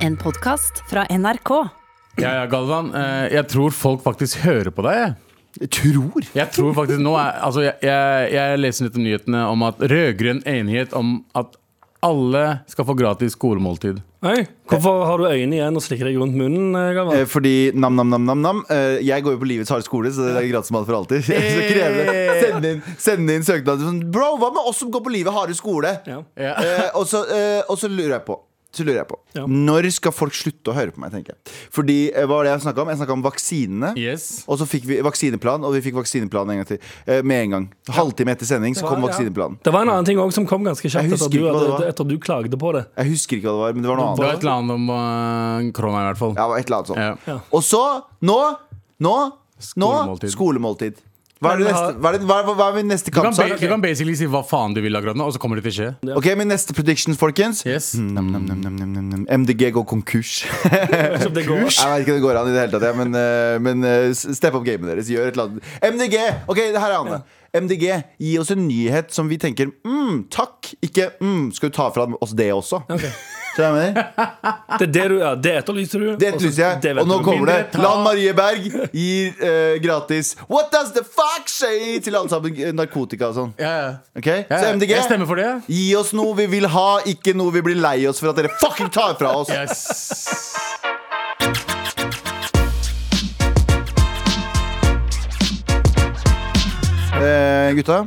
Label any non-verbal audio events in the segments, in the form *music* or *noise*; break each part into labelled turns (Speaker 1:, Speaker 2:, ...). Speaker 1: En podkast fra NRK.
Speaker 2: Ja, ja, Galvan. eh, jeg tror folk faktisk hører på deg. jeg.
Speaker 3: Tror?
Speaker 2: Jeg tror faktisk nå er, altså, jeg, jeg, jeg leser litt om nyhetene om at rød-grønn enighet om at alle skal få gratis skolemåltid.
Speaker 4: Oi, hvorfor har du øynene igjen og slikker deg rundt munnen? eh, Galvan?
Speaker 3: Eh, Fordi nam-nam-nam-nam eh, Jeg går jo på livets harde skole, så det er gratis mat for alltid. *laughs* Så krever det Send inn, send inn søknader sånn Bro, hva med oss som går på livet harde skole?
Speaker 4: Ja.
Speaker 2: Ja.
Speaker 3: Eh, *laughs* og, så, eh, og så lurer jeg på så lurer jeg på
Speaker 4: Ja.
Speaker 3: Når skal folk slutte å høre på meg? tenker jeg Fordi, eh, hva var det Jeg snakket om Jeg snakket om vaksinene.
Speaker 2: Yes.
Speaker 3: Og så fikk vi vaksineplan, og vi fikk vaksineplan en gang til. Eh, med en gang. Halvtime etter sending så kom
Speaker 4: Ja, ja.
Speaker 3: vaksineplanen.
Speaker 4: Det var en annen ting også som kom ganske kjapt
Speaker 3: Jeg
Speaker 4: etter
Speaker 3: husker
Speaker 4: at du,
Speaker 3: ikke hva det
Speaker 4: etter,
Speaker 3: var.
Speaker 4: etter du klagde på det.
Speaker 3: Jeg husker ikke hva det var, men det var noe
Speaker 2: Det var
Speaker 3: annet.
Speaker 2: et eller annet om eh, korona, i hvert fall.
Speaker 3: Ja, det var et eller annet sånt.
Speaker 2: Ja.
Speaker 4: Ja.
Speaker 3: Og så, nå, nå, nå
Speaker 2: Skolemåltid.
Speaker 3: skolemåltid. Hva er, det
Speaker 4: Men
Speaker 3: neste,
Speaker 4: har-
Speaker 3: hva, er det, hva, er- hva er min neste
Speaker 2: Du kan, ba
Speaker 3: kampsak?
Speaker 2: du kan basically si hva faen du vil akkurat nå, og så kommer det til å skje.
Speaker 3: Ok, min neste prediction, folkens.
Speaker 2: Yes.
Speaker 3: Nam, nam, nam, nam, nam, nam, nam. MDG går konkurs. *laughs*
Speaker 4: Så det går.
Speaker 3: Jeg vet ikke om det går an i det hele tatt, jeg, men, eh, men eh, step up gamet deres. Gjør et eller annet. MDG! Ok, det her er Anne. MDG, gi oss en nyhet som vi tenker mm, takk. Ikke mm, skal du ta fra oss det også?
Speaker 4: Ok.
Speaker 3: Skjønner du hva jeg mener?
Speaker 4: Det er det du ja, Det etterlyser du.
Speaker 3: Det etterlyser jeg. Og nå kommer det. Lan Marie Berg gir eh, gratis What does the fuck say? til alle sammen eh, narkotika og sånn.
Speaker 2: Ja, ja.
Speaker 3: Ok, Så
Speaker 2: Jeg,
Speaker 3: MDG,
Speaker 2: jeg stemmer for det.
Speaker 3: gi oss noe vi vil ha, ikke noe vi blir lei oss for at dere fucking tar fra oss.
Speaker 2: Yes.
Speaker 3: Eh, gutta,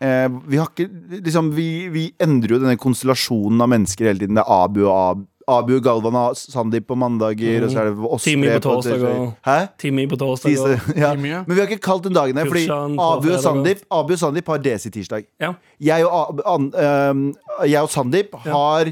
Speaker 3: eh, vi, har ikke, liksom, vi, vi endrer jo denne konstellasjonen av mennesker hele tiden. Det er Abu og Ab Abu, Galvan og Sandeep på mandager. Og så er det oss
Speaker 4: Timmy
Speaker 3: tre
Speaker 4: på torsdag og-
Speaker 3: Hæ?
Speaker 4: Timmy på torsdag.
Speaker 3: Tise,
Speaker 4: og-
Speaker 3: ja.
Speaker 2: Timmy, ja.
Speaker 3: Men vi har ikke kalt den dagen her, fordi
Speaker 4: Kursan
Speaker 3: Abu
Speaker 4: på
Speaker 3: og,
Speaker 4: fredag og-
Speaker 3: Sandeep, Abu og Sandeep har DC tirsdag.
Speaker 4: Ja.
Speaker 3: Jeg og, Ab- an, ehm, jeg og Sandeep har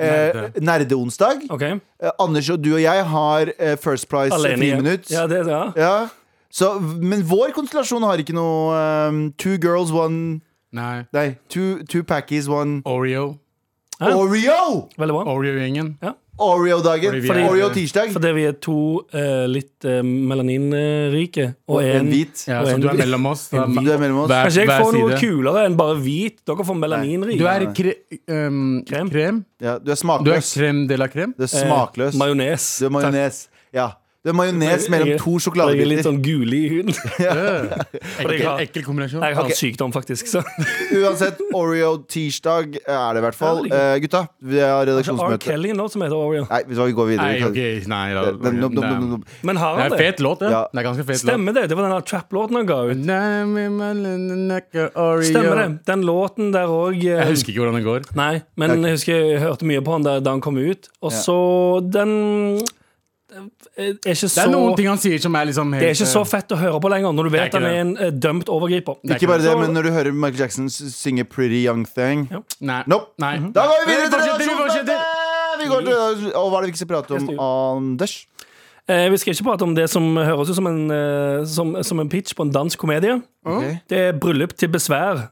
Speaker 3: eh,
Speaker 2: Nerde.
Speaker 3: Nerdeonsdag.
Speaker 4: OK.
Speaker 3: Eh, Anders og du og jeg har eh, First Price eh,
Speaker 4: Alene.
Speaker 3: Fri
Speaker 4: igjen.
Speaker 3: minutt.
Speaker 4: Ja, det, ja.
Speaker 3: Ja. Så, men vår konstellasjon har ikke noe ehm, Two girls, one
Speaker 2: Nei.
Speaker 3: Nei, two, two packies, one
Speaker 2: Oreo.
Speaker 4: Ja.
Speaker 3: Oreo!
Speaker 4: Veldig bra.
Speaker 2: Oreo-gjengen.
Speaker 3: Oreo-dagen.
Speaker 2: Fordi vi
Speaker 3: Fordi-
Speaker 2: er-
Speaker 3: Oreo-tirsdag.
Speaker 4: Fordi vi er to eh, litt eh, melaninrike og
Speaker 3: En
Speaker 4: en
Speaker 3: hvit.
Speaker 2: Ja,
Speaker 4: Og
Speaker 2: så
Speaker 4: en-
Speaker 2: du er mellom oss. Da-
Speaker 3: hvit. Du er mellom oss.
Speaker 2: Hver,
Speaker 4: Kanskje jeg
Speaker 2: hver
Speaker 4: får
Speaker 2: side.
Speaker 4: noe kulere enn bare hvit? Dere får
Speaker 2: Du
Speaker 4: melaninrik.
Speaker 2: er kre, ehm,
Speaker 4: Krem.
Speaker 2: krem.
Speaker 3: Ja, du er
Speaker 2: Du er
Speaker 3: smakløs.
Speaker 2: krem de la krem.
Speaker 3: Du er smakløs.
Speaker 4: Eh, Majones.
Speaker 3: Du er majones. Ja. Du er majones mellom to
Speaker 4: Jeg er
Speaker 3: sjokoladebiter.
Speaker 4: litt sånn gulig i huden.
Speaker 2: Øh. Ekkel,
Speaker 4: har-
Speaker 2: ekkel kombinasjon.
Speaker 4: Jeg har
Speaker 3: Ok.
Speaker 4: en sykdom,
Speaker 3: *laughs*
Speaker 4: faktisk. Så.
Speaker 3: Uansett, Oreo-tirsdag er det i hvert fall.
Speaker 4: Ja, Altså,
Speaker 3: Eh, gutta, vi har
Speaker 4: R.
Speaker 3: redaksjonsmøte.
Speaker 4: Kelly nå som heter Oreo.
Speaker 3: Nei, vet du hva, vi går videre.
Speaker 2: Nei,
Speaker 3: Vi kan-
Speaker 2: ok, nei da,
Speaker 3: Eh,
Speaker 2: ok,
Speaker 3: nom, nom,
Speaker 2: det er-
Speaker 3: nom, nom.
Speaker 4: Men har
Speaker 2: Det er liksom.
Speaker 4: han
Speaker 2: en
Speaker 4: det?
Speaker 2: fet låt, det.
Speaker 3: Ja.
Speaker 2: Det er ganske fet låt.
Speaker 4: Stemmer det? Det var den der trap-låten han ga ut.
Speaker 2: Nei, men man snakker Oreo.
Speaker 4: Stemmer det. Den låten der òg
Speaker 2: Jeg husker ikke hvordan det går.
Speaker 4: Nei, men jeg husker jeg hørte mye på han der da han kom ut. Og
Speaker 3: Ja.
Speaker 4: så Den eh, er ikke
Speaker 2: Det
Speaker 4: så
Speaker 2: er noen ting han sier som er liksom helt
Speaker 4: det er ikke så fett å høre på lenger, når du
Speaker 2: Det er
Speaker 4: vet
Speaker 2: ikke
Speaker 4: han er
Speaker 2: det.
Speaker 4: en eh, dømt overgriper.
Speaker 2: er
Speaker 3: Ikke bare det,
Speaker 4: Så-
Speaker 3: men når du hører Michael Jackson s- synge 'Pretty Young Thing'
Speaker 4: Ja.
Speaker 2: Nei.
Speaker 3: Nope.
Speaker 2: nei.
Speaker 3: Da går vi videre til
Speaker 2: fortsetter, vi fortsetter.
Speaker 3: redaksjonsmøtet! Vi går til, og hva er det vi ikke skal prate om, Anders?
Speaker 4: Eh, vi skal ikke prate om det som høres ut som en, eh, som, som en pitch på en dansk komedie.
Speaker 3: Ok.
Speaker 4: Det er bryllup til besvær.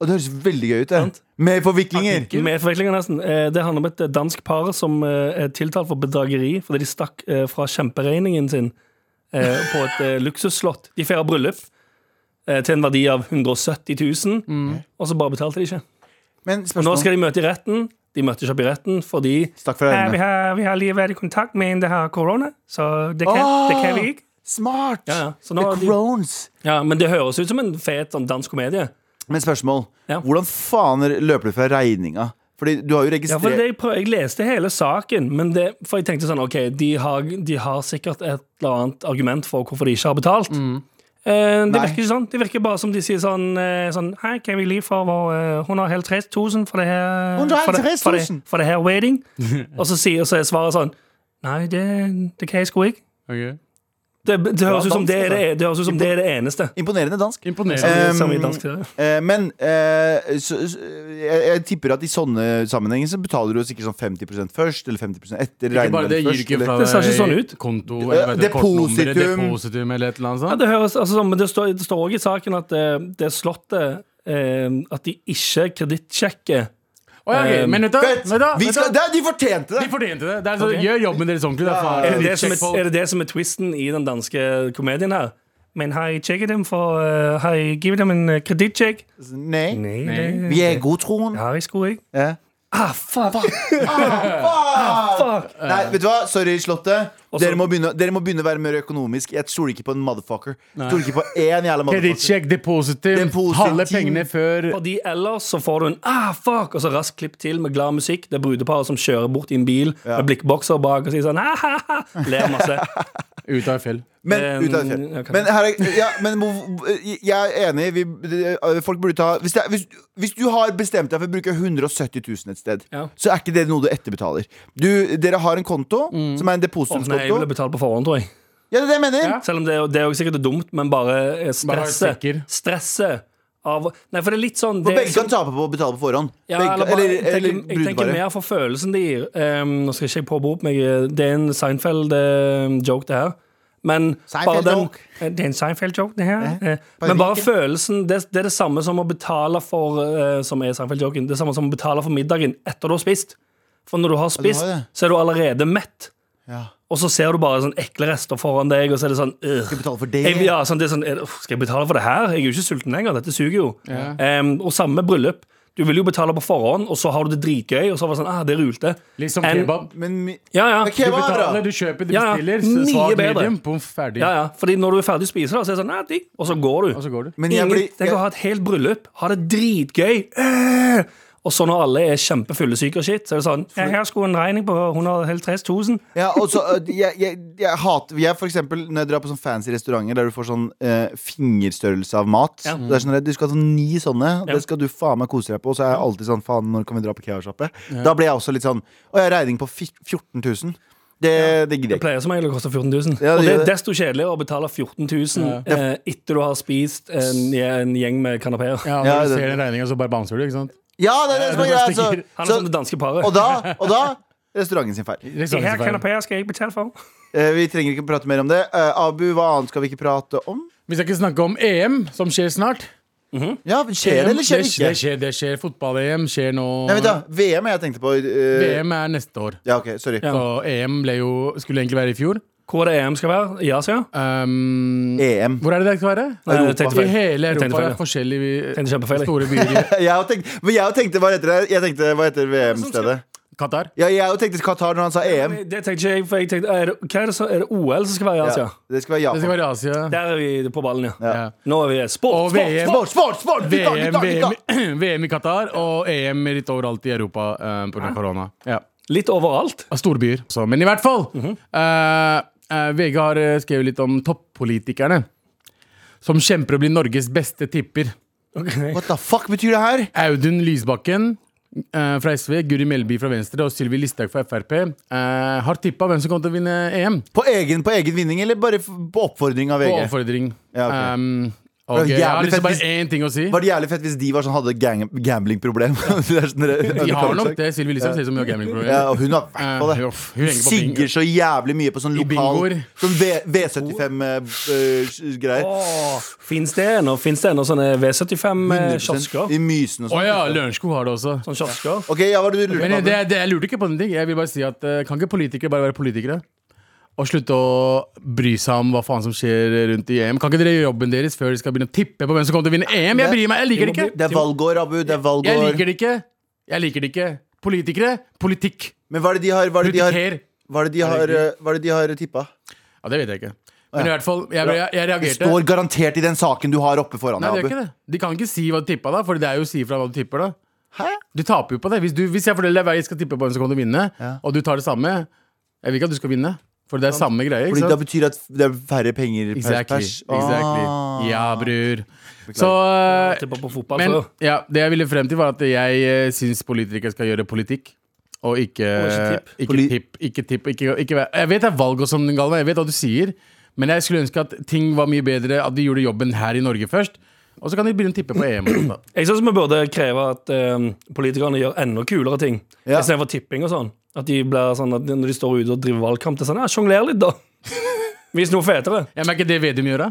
Speaker 3: Og det høres veldig gøy ut. det. Med forviklinger.
Speaker 4: Med forviklinger, nesten. Eh, Det handler om et dansk par som eh, er tiltalt for bedrageri fordi de stakk eh, fra kjemperegningen sin eh, på et eh, luksusslott. De feirer bryllup eh, til en verdi av 170 000, og så bare betalte de ikke.
Speaker 3: Men
Speaker 4: Og nå
Speaker 3: spørsmål
Speaker 4: skal de møte i retten. De møtte ikke opp i retten fordi
Speaker 3: Stakk fra
Speaker 4: eh,
Speaker 3: øynene.
Speaker 4: har, vi har lige vært i kontakt med en det har korona, så det
Speaker 3: Åh!
Speaker 4: ikke.
Speaker 3: Smart!
Speaker 4: Ja, ja. Så nå
Speaker 3: The
Speaker 4: har de-
Speaker 3: Crones.
Speaker 4: Ja, Men det høres ut som en fet sånn dansk komedie.
Speaker 3: Men spørsmål.
Speaker 4: Ja.
Speaker 3: Hvordan faen løper du fra regninga? Fordi du har jo
Speaker 4: Ja, for
Speaker 3: registrert
Speaker 4: det, jeg, prøv, jeg leste hele saken, men det, for jeg tenkte sånn OK, de har, de har sikkert et eller annet argument for hvorfor de ikke har betalt. Eh, det
Speaker 3: Nei.
Speaker 4: virker ikke sånn. Det virker bare som de sier sånn, eh, sånn Hei, kan vi lige få vår eh, 150 000 for det her for det, for det,
Speaker 3: 150 000?
Speaker 4: for det her wedding? *laughs* og så, sier, så er svaret sånn Nei, det, det kan jeg sgu ikke.
Speaker 2: Ok.
Speaker 4: Det, det høres ut som, det, er det, det, høres ut som det er det eneste.
Speaker 3: Imponerende dansk.
Speaker 2: Imponerende.
Speaker 3: Eh,
Speaker 4: som i
Speaker 3: Um,
Speaker 4: dansk TV.
Speaker 3: Eh, men eh, så, så, jeg, jeg tipper at i sånne sammenhenger så betaler du sikkert sånn 50 først, eller 50 etter.
Speaker 2: Ikke
Speaker 3: regner
Speaker 2: bare
Speaker 3: med
Speaker 2: det,
Speaker 3: først,
Speaker 2: gir du ikke
Speaker 3: eller-
Speaker 2: fra
Speaker 4: Det ser ikke sånn ut.
Speaker 2: konto eller hva heter det,
Speaker 3: Depositum.
Speaker 2: kortnummeret, depositum eller et eller annet
Speaker 4: Ja,
Speaker 2: sånt.
Speaker 4: det høres, altså, sånn, men det står, det står også i saken at eh, det er slottet eh, At de ikke kredittsjekker.
Speaker 2: Å, ja, ok, Men vet du,
Speaker 3: Fett!
Speaker 2: vet du,
Speaker 3: Vi
Speaker 2: vet
Speaker 3: skal,
Speaker 2: du
Speaker 3: det, de fortjente det!
Speaker 2: de fortjente det. det er så, Gjør jobben deres ordentlig. da, faen.
Speaker 4: Er det det,
Speaker 2: Sjekk
Speaker 4: som er,
Speaker 2: folk.
Speaker 4: er det det som er twisten i den danske komedien her? Men har jeg sjekket dem for eh, Har jeg gitt dem en eh, kredittsjekk?
Speaker 3: Nei.
Speaker 4: Nei,
Speaker 2: Nei.
Speaker 4: det
Speaker 3: Vi er i Eh. godtroen.
Speaker 4: det har jeg sgu ikke.
Speaker 3: Ja.
Speaker 4: Ah, fuck!
Speaker 3: Ah, Fuck!
Speaker 4: fuck.
Speaker 3: Nei, vet du hva? Sorry, Slottet.
Speaker 4: Og så-
Speaker 3: Dere må, begynne, dere må begynne å være mer økonomisk. Jeg stoler ikke på en motherfucker. Jeg stoler ikke på én jævla motherfucker.
Speaker 2: Kredittsjekk, depositum,
Speaker 3: Depositum.
Speaker 2: halve pengene før
Speaker 4: Fordi ellers så får du en ah, fuck, og så raskt klipp til med glad musikk. Det er brudeparet som kjører bort i en bil med blikkbokser bak og sier sånn ah, ha, ha, ler *laughs* masse.
Speaker 2: ut av fjell.
Speaker 3: Men, ut av det
Speaker 4: Eh,
Speaker 3: fjell.
Speaker 4: ok.
Speaker 3: men, her er, ja, men hvor- jeg er enig. Vi, det- folk burde ta hvis, det, er- hvis, hvis du har bestemt deg for å bruke 170 000 et sted,
Speaker 4: Ja.
Speaker 3: så er ikke det noe du etterbetaler. Du, dere har en konto
Speaker 4: Mm.
Speaker 3: som er en
Speaker 4: Nei, jeg ville
Speaker 3: depositumskonto.
Speaker 4: betalt på forhånd, tror jeg.
Speaker 3: Ja, det er det jeg mener!
Speaker 2: Ja.
Speaker 4: Selv om det, er jo- det er jo sikkert dumt, men bare eh,
Speaker 2: Bare være
Speaker 4: stresset.
Speaker 2: sikker.
Speaker 4: Stresset av Nei, for det er litt sånn
Speaker 3: For
Speaker 4: det,
Speaker 3: begge kan tape på å betale på forhånd.
Speaker 4: ja,
Speaker 3: begge,
Speaker 4: eller, bare, jeg,
Speaker 3: eller
Speaker 4: tenker, jeg tenker
Speaker 3: brudeparet.
Speaker 4: mer for følelsen det gir. Ehm, nå skal ikke jeg påberope meg eh, Det er en Seinfeld-joke, det her. Men bare den,
Speaker 3: Seinfeld-joke.
Speaker 4: Eh, det er en Seinfeld-joke, det her. Eh,
Speaker 3: Bare
Speaker 4: Men bare
Speaker 3: ikke.
Speaker 4: følelsen det, det er det samme som å betale for eh, Som er Seinfeld-joken. Det er samme som å betale for middagen etter du har spist. For når du har spist,
Speaker 3: det.
Speaker 4: så er du allerede mett.
Speaker 3: Ja.
Speaker 4: Og så ser du bare sånn ekle rester foran deg, og så er det sånn «Ugh».
Speaker 3: Skal jeg betale for det?
Speaker 4: Jeg, ja, sånn, det er sånn, er det- uff, skal jeg betale for det her? Jeg er jo ikke sulten lenger, dette suger jo. Em, og samme bryllup. Du vil jo betale på forhånd, og så har du det dritgøy, og så var det sånn, ah, det rulte.
Speaker 2: Litt som
Speaker 4: En-
Speaker 2: kebab.
Speaker 3: Men mi-
Speaker 4: Ja, ja.
Speaker 3: Men
Speaker 2: Du
Speaker 3: kebab er bra.
Speaker 2: betaler, du kjøper, du
Speaker 4: Ja, ja.
Speaker 2: bestiller.
Speaker 4: Mye
Speaker 2: Svak
Speaker 4: bedre.
Speaker 2: medium, poff, ferdig.
Speaker 4: ja, ja. Fordi når du er ferdig å spise, da, så er det sånn, ah, digg, og så går
Speaker 2: Og
Speaker 4: du.
Speaker 2: så går du.
Speaker 3: Altså, Men jeg
Speaker 4: Ingen,
Speaker 3: blir
Speaker 4: tenk å ha et helt bryllup, ha det dritgøy. Øh! Og så når alle er kjempefulle og shit, så er det sånn, ja, her skulle en regning på 130 000.
Speaker 3: Ja, og så, øh, jeg, jeg, jeg hater jeg for eksempel, Når jeg drar på sånn fancy restauranter der du får sånn eh, fingerstørrelse av mat
Speaker 4: Ja.
Speaker 3: Det er sånn at Du skal ha sånn ni sånne, og
Speaker 4: Ja.
Speaker 3: det skal du faen meg kose deg på. Og så er jeg alltid sånn Faen, når kan vi dra på kebabsjappe? Da blir jeg også litt sånn Å, jeg har regning på fi- 14 000. Det, det gidder
Speaker 4: Det
Speaker 3: jeg ikke.
Speaker 4: pleier som regel å koste 14 000.
Speaker 3: Ja, det
Speaker 4: og det
Speaker 3: gjør
Speaker 4: er
Speaker 3: det.
Speaker 4: desto kjedeligere å betale 14 000 eh, etter du har spist en, en gjeng med kanapeer.
Speaker 2: Ja,
Speaker 3: Ja,
Speaker 2: når du
Speaker 3: det-
Speaker 2: ser den regninga, så bare bouncer du, ikke sant?
Speaker 3: Ja, det er det som er
Speaker 2: det
Speaker 3: greia!
Speaker 2: bare stikker.
Speaker 3: Altså.
Speaker 4: Han er
Speaker 3: Så-
Speaker 4: som det danske paret.
Speaker 3: Og da, og da Restauranten sin feil.
Speaker 2: Litt
Speaker 4: De
Speaker 2: sånn
Speaker 4: her
Speaker 2: som feil.
Speaker 4: kanapeer skal jeg betale for.
Speaker 3: Eh, vi trenger ikke prate mer om det. Eh, Abu, hva annet skal vi ikke prate om?
Speaker 2: Vi skal ikke snakke om EM, som skjer snart.
Speaker 3: Ja, Skjer det, eller skjer det
Speaker 2: Det
Speaker 3: ikke?
Speaker 2: skjer, det skjer. Fotball-EM skjer nå.
Speaker 3: Nei, vent da, VM er jeg tenkte på. eh,
Speaker 2: VM er neste år.
Speaker 3: Ja, ok, sorry.
Speaker 2: Så EM ble jo, skulle egentlig være i fjor.
Speaker 4: Hvor det EM skal være? I Asia?
Speaker 2: Um,
Speaker 3: EM.
Speaker 2: hvor er det det skal være?
Speaker 4: Nei, jeg tenkte
Speaker 2: I
Speaker 4: feil.
Speaker 2: hele
Speaker 4: Jeg tenkte
Speaker 2: Europa.
Speaker 4: feil,
Speaker 2: Det
Speaker 4: ja.
Speaker 2: er forskjellige
Speaker 4: Tenkte kjempefeil, jeg.
Speaker 2: store byer. i-
Speaker 3: *laughs* Jeg har tenkt, men jeg har tenkt hva heter det? Jeg tenkte, hva heter VM-stedet?
Speaker 2: Qatar.
Speaker 3: Ja, jeg har jo tenkt Qatar når han sa EM.
Speaker 4: Det tenkte ikke jeg, for jeg tenkte er det, hva er, det, så- er det OL som skal være i
Speaker 3: Ja,
Speaker 4: Asia?
Speaker 3: det skal være
Speaker 2: Det skal
Speaker 3: Japan.
Speaker 2: være i Asia.
Speaker 4: Der er vi på ballen, ja.
Speaker 2: Ja.
Speaker 4: Nå er vi
Speaker 2: Og
Speaker 4: sport, sport,
Speaker 2: VM,
Speaker 4: sport!
Speaker 3: Sport, sport, sport! Gutta,
Speaker 2: VM,
Speaker 3: gutta, gutta!
Speaker 2: VM, VM i *clears throat* Qatar og EM litt overalt i Europa eh, på grunn av korona. Ja.
Speaker 4: Litt overalt.
Speaker 2: Av Storbyer. Så, men i hvert fall!
Speaker 3: Mhm.
Speaker 2: eh, eh, VG har eh, skrevet litt om toppolitikerne som kjemper å bli Norges beste tipper.
Speaker 3: What the fuck betyr det her?
Speaker 2: Audun Lysbakken eh, fra SV, Guri Melby fra Venstre og Sylvi Listhaug fra Frp eh, har tippa hvem som kommer til å vinne E EM.
Speaker 3: På egen, på egen vinning, eller bare f- på oppfordring av
Speaker 2: På
Speaker 3: VG?
Speaker 2: oppfordring.
Speaker 3: Ja, ok.
Speaker 2: Um,
Speaker 3: var
Speaker 2: og jeg har
Speaker 3: jævlig
Speaker 2: liksom
Speaker 3: fett
Speaker 2: bare én ting å si.
Speaker 3: Var det jævlig fett hvis de var sånn hadde gang, gamblingproblem? *laughs* Det er sånn dere-
Speaker 2: De har nok
Speaker 3: undercover-sak.
Speaker 2: det. Sylvi Listhaug ser ut som hun har gamingproblem.
Speaker 3: Ja, og hun har
Speaker 2: Eh,
Speaker 3: vært på det.
Speaker 2: jo, hun henger på bingo.
Speaker 3: Sigger så jævlig mye på sånn
Speaker 2: I
Speaker 3: lokal
Speaker 2: bingoer.
Speaker 3: Sånn eh, V75-greier.
Speaker 4: Fins det ennå Finnes det ennå sånne eh, V75-kiosker?
Speaker 3: I Mysen og
Speaker 2: Å
Speaker 3: sånn.
Speaker 2: eh, ja, Lørenskog har det også.
Speaker 4: Sånne kiosker?
Speaker 3: Ok, ja, hva er det du
Speaker 2: Men
Speaker 3: lurer på?
Speaker 2: det, det, jeg lurte ikke på noen ting. Jeg vil bare si at eh, Kan ikke politikere bare være politikere? Og slutte å bry seg om hva faen som skjer rundt i EM. Kan ikke dere gjøre jobben deres før dere skal begynne å tippe på hvem som kommer til å vinne EM? Jeg bryr meg, jeg liker det
Speaker 3: Det
Speaker 2: ikke.
Speaker 3: er valgår, Abu. Det er
Speaker 2: Jeg
Speaker 3: valgår.
Speaker 2: liker det ikke. Jeg liker det ikke. Politikere, politikk.
Speaker 3: Men hva er det de har Hva er det de har,
Speaker 2: Politiker.
Speaker 3: hva er det de har, eh, hva er det de har tippa?
Speaker 2: Ja, det vet jeg ikke. Men i hvert fall, jeg, jeg, jeg
Speaker 3: Det
Speaker 2: reagerte.
Speaker 3: står garantert i den saken du har oppe foran
Speaker 2: Nei, det gjør
Speaker 3: deg, Abu.
Speaker 2: ikke det. De kan ikke si hva du tippa, da, for det er jo å si fra hva du tipper, da.
Speaker 3: Hæ?
Speaker 2: Du taper jo på det. Hvis, du, hvis jeg forteller deg hva jeg skal tippe på hvem som kommer til å vinne,
Speaker 3: Ja.
Speaker 2: og du tar det samme Jeg vil ikke at du skal vinne, for det er samme greie.
Speaker 3: Fordi
Speaker 2: Ikke
Speaker 3: det
Speaker 2: sant?
Speaker 3: betyr at det er færre penger per
Speaker 2: Exactly.
Speaker 3: pers.
Speaker 2: exactly.
Speaker 3: Ah.
Speaker 2: Ja, bror. Så eh,
Speaker 4: Tipper på fotball
Speaker 2: Men
Speaker 4: før.
Speaker 3: Altså-
Speaker 2: ja, det jeg ville frem til, var at jeg uh, syns politikere skal gjøre politikk. Og ikke,
Speaker 4: ikke tipp.
Speaker 2: ikke
Speaker 3: Poli-
Speaker 2: tipp. Ikke tipp ikke, ikke, væ- jeg vet det er valg og sånn, Galvan. Jeg vet hva du sier. Men jeg skulle ønske at ting var mye bedre, at de gjorde jobben her i Norge først. Og så kan de begynne å tippe på E EM. og sånt da.
Speaker 3: *clears throat*
Speaker 4: Jeg synes vi burde kreve at eh, politikerne gjør enda kulere ting.
Speaker 3: Ja.
Speaker 4: Istedenfor tipping og sånn. At de blir sånn at når de står ute og driver valgkamp, det er sånn ja, sjongler litt,
Speaker 3: *laughs*
Speaker 4: da. Vis noe fetere.
Speaker 2: Ja, men er ikke det Vedum gjør, da?